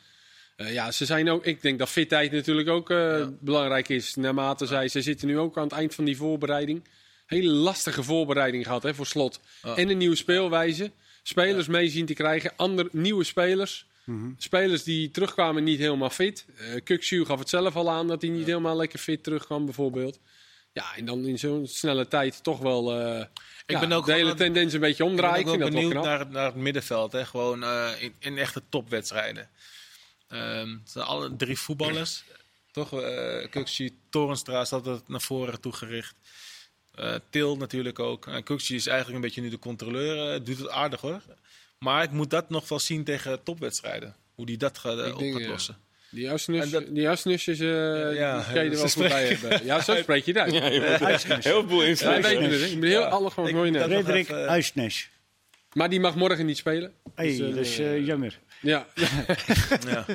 [SPEAKER 2] Eh, ja, ze zijn ook... Ik denk dat fitheid natuurlijk ook eh, belangrijk is. Naarmate zij... Ze zitten nu ook aan het eind van die voorbereiding. Hele lastige voorbereiding gehad hè, voor slot. En een nieuwe speelwijze. Spelers mee zien te krijgen. Ander, nieuwe spelers.
[SPEAKER 3] Mhm.
[SPEAKER 2] Spelers die terugkwamen niet helemaal fit. Eh Kuksu gaf het zelf al aan dat hij niet helemaal lekker fit terugkwam bijvoorbeeld. Ja, en dan in zo'n snelle tijd toch wel eh, ja,
[SPEAKER 3] ben ook
[SPEAKER 2] de hele
[SPEAKER 3] wel-
[SPEAKER 2] tendens een beetje
[SPEAKER 3] Ik ben
[SPEAKER 2] omdraaien.
[SPEAKER 3] ook
[SPEAKER 2] Ik vind
[SPEAKER 3] wel
[SPEAKER 2] dat wel knap.
[SPEAKER 3] benieuwd naar, het- naar het middenveld. Hè? Gewoon eh, in, in echte topwedstrijden. Ehm, het zijn alle drie voetballers. Toch? eh Kuxi, Torenstra is altijd naar voren toegericht. Eh Til natuurlijk ook. En Kuxi is eigenlijk een beetje nu de controleur. eh, doet het aardig hoor. Maar ik moet dat nog wel zien tegen topwedstrijden. Hoe die dat gaat, eh,
[SPEAKER 2] Ik
[SPEAKER 3] op
[SPEAKER 2] denk,
[SPEAKER 3] gaat
[SPEAKER 2] ja.
[SPEAKER 3] lossen.
[SPEAKER 2] Die asnus-
[SPEAKER 3] En dat-
[SPEAKER 2] Die asnusjes eh
[SPEAKER 3] ja,
[SPEAKER 2] die kan je er wel
[SPEAKER 3] ze
[SPEAKER 2] goed bij
[SPEAKER 3] spreken-
[SPEAKER 2] hebben. Ja, zo spreek je het uit.
[SPEAKER 4] Ja, je wordt er heel veel
[SPEAKER 2] Wij
[SPEAKER 4] insluiten.
[SPEAKER 2] weten het, hè. Je moet heel alles gewoon
[SPEAKER 3] Ik-
[SPEAKER 2] mooi
[SPEAKER 3] dat-
[SPEAKER 2] nemen.
[SPEAKER 1] Frederik
[SPEAKER 3] even-
[SPEAKER 1] Uysnes.
[SPEAKER 2] Maar die mag morgen niet spelen.
[SPEAKER 1] Hey,
[SPEAKER 2] Dus, eh,
[SPEAKER 1] dat is eh, jammer.
[SPEAKER 2] Ja.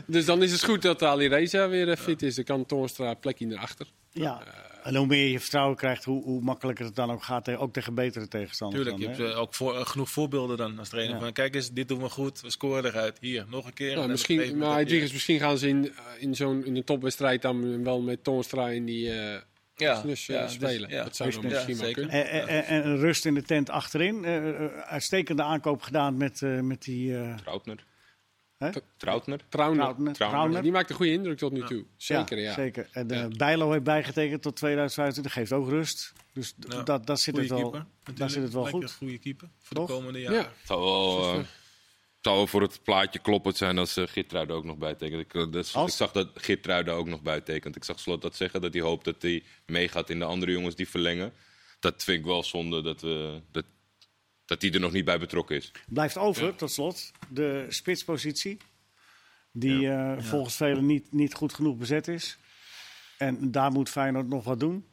[SPEAKER 2] dus dan is het goed dat Ali Reza weer eh, fit is. Dan kan Toornstra plekje erachter.
[SPEAKER 1] Ja. En hoe meer je vertrouwen krijgt, hoe, hoe makkelijker het dan ook gaat. eh, Ook tegen betere tegenstanders.
[SPEAKER 3] Tuurlijk, je
[SPEAKER 1] dan,
[SPEAKER 3] hebt
[SPEAKER 1] hè.
[SPEAKER 3] eh, ook voor, eh, genoeg voorbeelden dan als trainer.
[SPEAKER 1] Ja.
[SPEAKER 3] Van, kijk eens, dit doen we goed. We scoren eruit. Hier, nog een keer. En
[SPEAKER 2] Nou,
[SPEAKER 3] dan op
[SPEAKER 2] misschien,
[SPEAKER 3] een gegeven
[SPEAKER 2] maar
[SPEAKER 3] moment dat-
[SPEAKER 2] Rodriguez, misschien gaan ze in, eh, in, zo'n, in een topwedstrijd dan wel met Toornstra in die eh
[SPEAKER 3] ja,
[SPEAKER 2] asnus, eh,
[SPEAKER 3] ja, dus-
[SPEAKER 2] spelen.
[SPEAKER 3] ja.
[SPEAKER 2] Dat zou dan
[SPEAKER 1] Asnus,
[SPEAKER 2] misschien
[SPEAKER 3] ja,
[SPEAKER 2] wel
[SPEAKER 3] zeker.
[SPEAKER 2] kunnen.
[SPEAKER 1] En, en- en- en rust in de tent achterin. Eh, eh, uitstekende aankoop gedaan met, eh, met die eh
[SPEAKER 4] Trautner.
[SPEAKER 1] Hè?
[SPEAKER 4] Trautner.
[SPEAKER 2] Trouwner.
[SPEAKER 1] Trauner.
[SPEAKER 4] Trauner.
[SPEAKER 2] Die maakt een goede indruk tot nu toe. Zeker, ja.
[SPEAKER 1] zeker. En eh, Bijlo heeft bijgetekend tot 2025. Geeft ook rust. Dus d-
[SPEAKER 3] Ja.
[SPEAKER 1] dat, dat zit
[SPEAKER 3] Nou, Goeie
[SPEAKER 1] het wel,
[SPEAKER 3] keeper.
[SPEAKER 1] daar zit het wel
[SPEAKER 3] Lekker
[SPEAKER 1] goed.
[SPEAKER 3] goede keeper voor
[SPEAKER 1] Toch?
[SPEAKER 3] de komende
[SPEAKER 2] Ja.
[SPEAKER 3] jaren.
[SPEAKER 4] Het zou wel, eh, het zou wel voor het plaatje kloppend zijn als eh Geertruiden ook nog bijtekent. Ik, eh, dus,
[SPEAKER 1] Als?
[SPEAKER 4] ik zag dat Geertruiden ook nog bijtekent. Ik zag Slot dat zeggen, dat hij hoopt dat hij meegaat in de andere jongens die verlengen. Dat vind ik wel zonde dat we... Dat, dat hij er nog niet bij betrokken is.
[SPEAKER 1] Blijft over, tot slot, de spitspositie. Die eh, volgens velen niet, niet goed genoeg bezet is. En daar moet Feyenoord nog wat doen.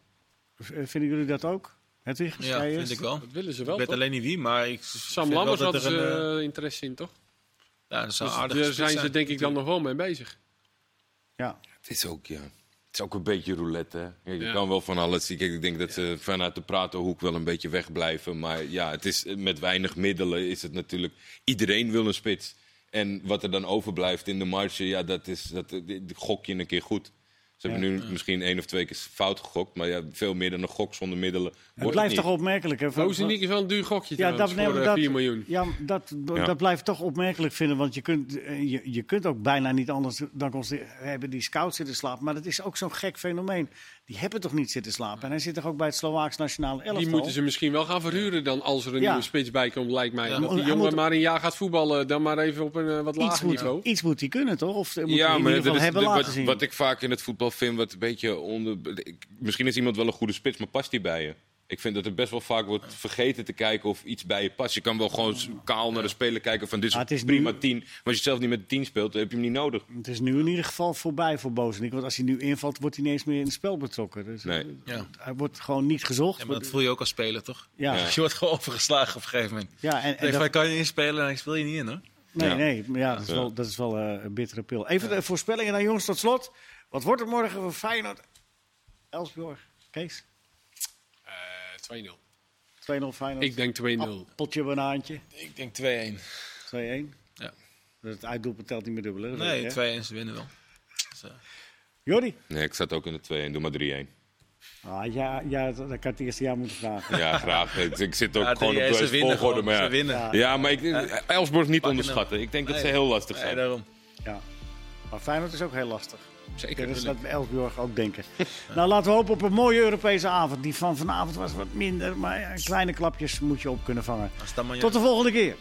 [SPEAKER 1] V- eh, vinden jullie dat ook? Hedwig,
[SPEAKER 3] Ja,
[SPEAKER 1] jij
[SPEAKER 3] vind
[SPEAKER 1] eerst?
[SPEAKER 3] ik wel.
[SPEAKER 2] Dat willen ze
[SPEAKER 3] Ik
[SPEAKER 2] wel,
[SPEAKER 3] weet
[SPEAKER 2] toch?
[SPEAKER 3] alleen niet wie, maar ik
[SPEAKER 2] Sam
[SPEAKER 3] vind wel
[SPEAKER 2] Lammers
[SPEAKER 3] dat
[SPEAKER 2] hadden
[SPEAKER 3] er
[SPEAKER 2] ze
[SPEAKER 3] een, eh,
[SPEAKER 2] eh, interesse in, toch?
[SPEAKER 3] ja, dat zou
[SPEAKER 2] Dus
[SPEAKER 3] aardig
[SPEAKER 2] daar zijn ze denk ik dan nog wel mee bezig.
[SPEAKER 1] Ja.
[SPEAKER 4] Het is ook, ja... Het is ook een beetje roulette, hè? Kijk, Je
[SPEAKER 2] Ja.
[SPEAKER 4] kan wel van alles. Ik ik denk dat ze vanuit de pratenhoek wel een beetje wegblijven. Maar ja, het is, eh, met weinig middelen is het natuurlijk... Iedereen wil een spits. En wat er dan overblijft in de marge, ja, dat is... Dat, eh, die- die gok je een keer goed. Ze hebben nu misschien één of twee keer fout gegokt. Maar ja, veel meer dan een gok zonder middelen
[SPEAKER 1] Het
[SPEAKER 4] wordt
[SPEAKER 1] blijft
[SPEAKER 4] het
[SPEAKER 1] toch
[SPEAKER 4] niet.
[SPEAKER 1] opmerkelijk, hè? van-
[SPEAKER 2] Rozeniek is wel een duur
[SPEAKER 1] Ja,
[SPEAKER 2] gokje trouwens,
[SPEAKER 1] dat, nee,
[SPEAKER 2] voor
[SPEAKER 1] maar
[SPEAKER 2] eh,
[SPEAKER 1] dat,
[SPEAKER 2] 4 miljoen.
[SPEAKER 1] Ja, dat,
[SPEAKER 4] Ja.
[SPEAKER 1] dat blijft toch opmerkelijk vinden. Want je kunt, eh, je, je kunt ook bijna niet anders dan constateren, hebben die scouts zitten slapen. Maar dat is ook zo'n gek fenomeen. Die hebben toch niet zitten slapen? En hij zit toch ook bij het Slovaaks nationale elftal?
[SPEAKER 2] Die moeten ze misschien wel gaan verhuren dan als er een
[SPEAKER 1] Ja.
[SPEAKER 2] nieuwe spits bij komt, lijkt mij.
[SPEAKER 1] maar
[SPEAKER 2] Dat die
[SPEAKER 1] hij
[SPEAKER 2] jongen
[SPEAKER 1] moet-
[SPEAKER 2] maar een jaar gaat voetballen, dan maar even op een eh, wat
[SPEAKER 1] iets,
[SPEAKER 2] lager
[SPEAKER 1] moet,
[SPEAKER 2] niveau.
[SPEAKER 1] iets moet die kunnen, toch? Of eh, moet hij in
[SPEAKER 4] maar
[SPEAKER 1] ieder geval
[SPEAKER 4] dat is
[SPEAKER 1] hebben
[SPEAKER 4] de-
[SPEAKER 1] laten
[SPEAKER 4] wat,
[SPEAKER 1] zien.
[SPEAKER 4] wat ik vaak in het voetbal vind, wat een beetje onder... ik- misschien is iemand wel een goede spits, maar past die bij je? Ik vind dat er best wel vaak wordt vergeten te kijken of iets bij je past. Je kan wel gewoon s- kaal naar de speler kijken van dit is,
[SPEAKER 1] Maar het is
[SPEAKER 4] prima
[SPEAKER 1] nu-
[SPEAKER 4] tien. Maar als je zelf niet met de tien speelt, dan heb je hem niet nodig.
[SPEAKER 1] Het is nu in ieder geval voorbij voor Bozenik. Want als hij nu invalt, wordt hij niet eens meer in het spel betrokken. Dus
[SPEAKER 4] Nee.
[SPEAKER 1] eh,
[SPEAKER 3] Ja.
[SPEAKER 1] Hij wordt gewoon niet gezocht.
[SPEAKER 3] Ja, maar dat voel je ook als speler, toch?
[SPEAKER 1] Ja,
[SPEAKER 4] Ja.
[SPEAKER 1] ja.
[SPEAKER 3] Je wordt gewoon overgeslagen op een gegeven moment.
[SPEAKER 1] en, en
[SPEAKER 3] En
[SPEAKER 1] dat-
[SPEAKER 3] dan kan je inspelen en ik speel je niet in, hoor.
[SPEAKER 1] Nee,
[SPEAKER 4] Ja.
[SPEAKER 1] nee, maar ja, dat is
[SPEAKER 4] Ja.
[SPEAKER 1] wel, dat is wel eh, een bittere pil. Even de voorspellingen dan, jongens, tot slot. Wat wordt het morgen voor Feyenoord? Elsborg, Kees,
[SPEAKER 2] Eh, 2-0.
[SPEAKER 1] 2-0 Feyenoord.
[SPEAKER 2] Ik denk 2-0.
[SPEAKER 1] Appeltje, banaantje, 2-1.
[SPEAKER 3] Ik denk 2-1. Ja.
[SPEAKER 1] Het uitdoelpunt telt niet meer dubbel, hè? Dat weet je,
[SPEAKER 3] Nee,
[SPEAKER 1] hè?
[SPEAKER 3] 2-1, ze winnen wel. Dus, eh,
[SPEAKER 1] Jordi?
[SPEAKER 4] Nee, ik zat ook in de 2-1, doe maar 3-1.
[SPEAKER 1] Ah, ja, ja, dat dat kan het eerste jaar moeten vragen.
[SPEAKER 4] Ja, graag. ik, ik zit ook
[SPEAKER 3] Ja,
[SPEAKER 4] gewoon op
[SPEAKER 3] 3-1,
[SPEAKER 4] de
[SPEAKER 3] ze winnen
[SPEAKER 4] volgorde.
[SPEAKER 3] gewoon.
[SPEAKER 4] Maar
[SPEAKER 3] Ze
[SPEAKER 4] ja.
[SPEAKER 3] winnen.
[SPEAKER 4] ja, maar ik, Elsborg niet
[SPEAKER 3] hem.
[SPEAKER 4] onderschatten. Ik denk dat ze
[SPEAKER 3] Nee.
[SPEAKER 4] heel lastig
[SPEAKER 3] Nee,
[SPEAKER 4] zijn.
[SPEAKER 3] daarom.
[SPEAKER 1] Ja. Maar Feyenoord is ook heel lastig.
[SPEAKER 3] Zeker.
[SPEAKER 1] Ja, dat is
[SPEAKER 3] tuurlijk.
[SPEAKER 1] dat Elsborg ook denken. Nou, laten we hopen op een mooie Europese avond. Die van vanavond was wat minder, maar ja, kleine klapjes moet je op kunnen vangen.
[SPEAKER 3] Als het dan maar-
[SPEAKER 1] Tot de volgende keer.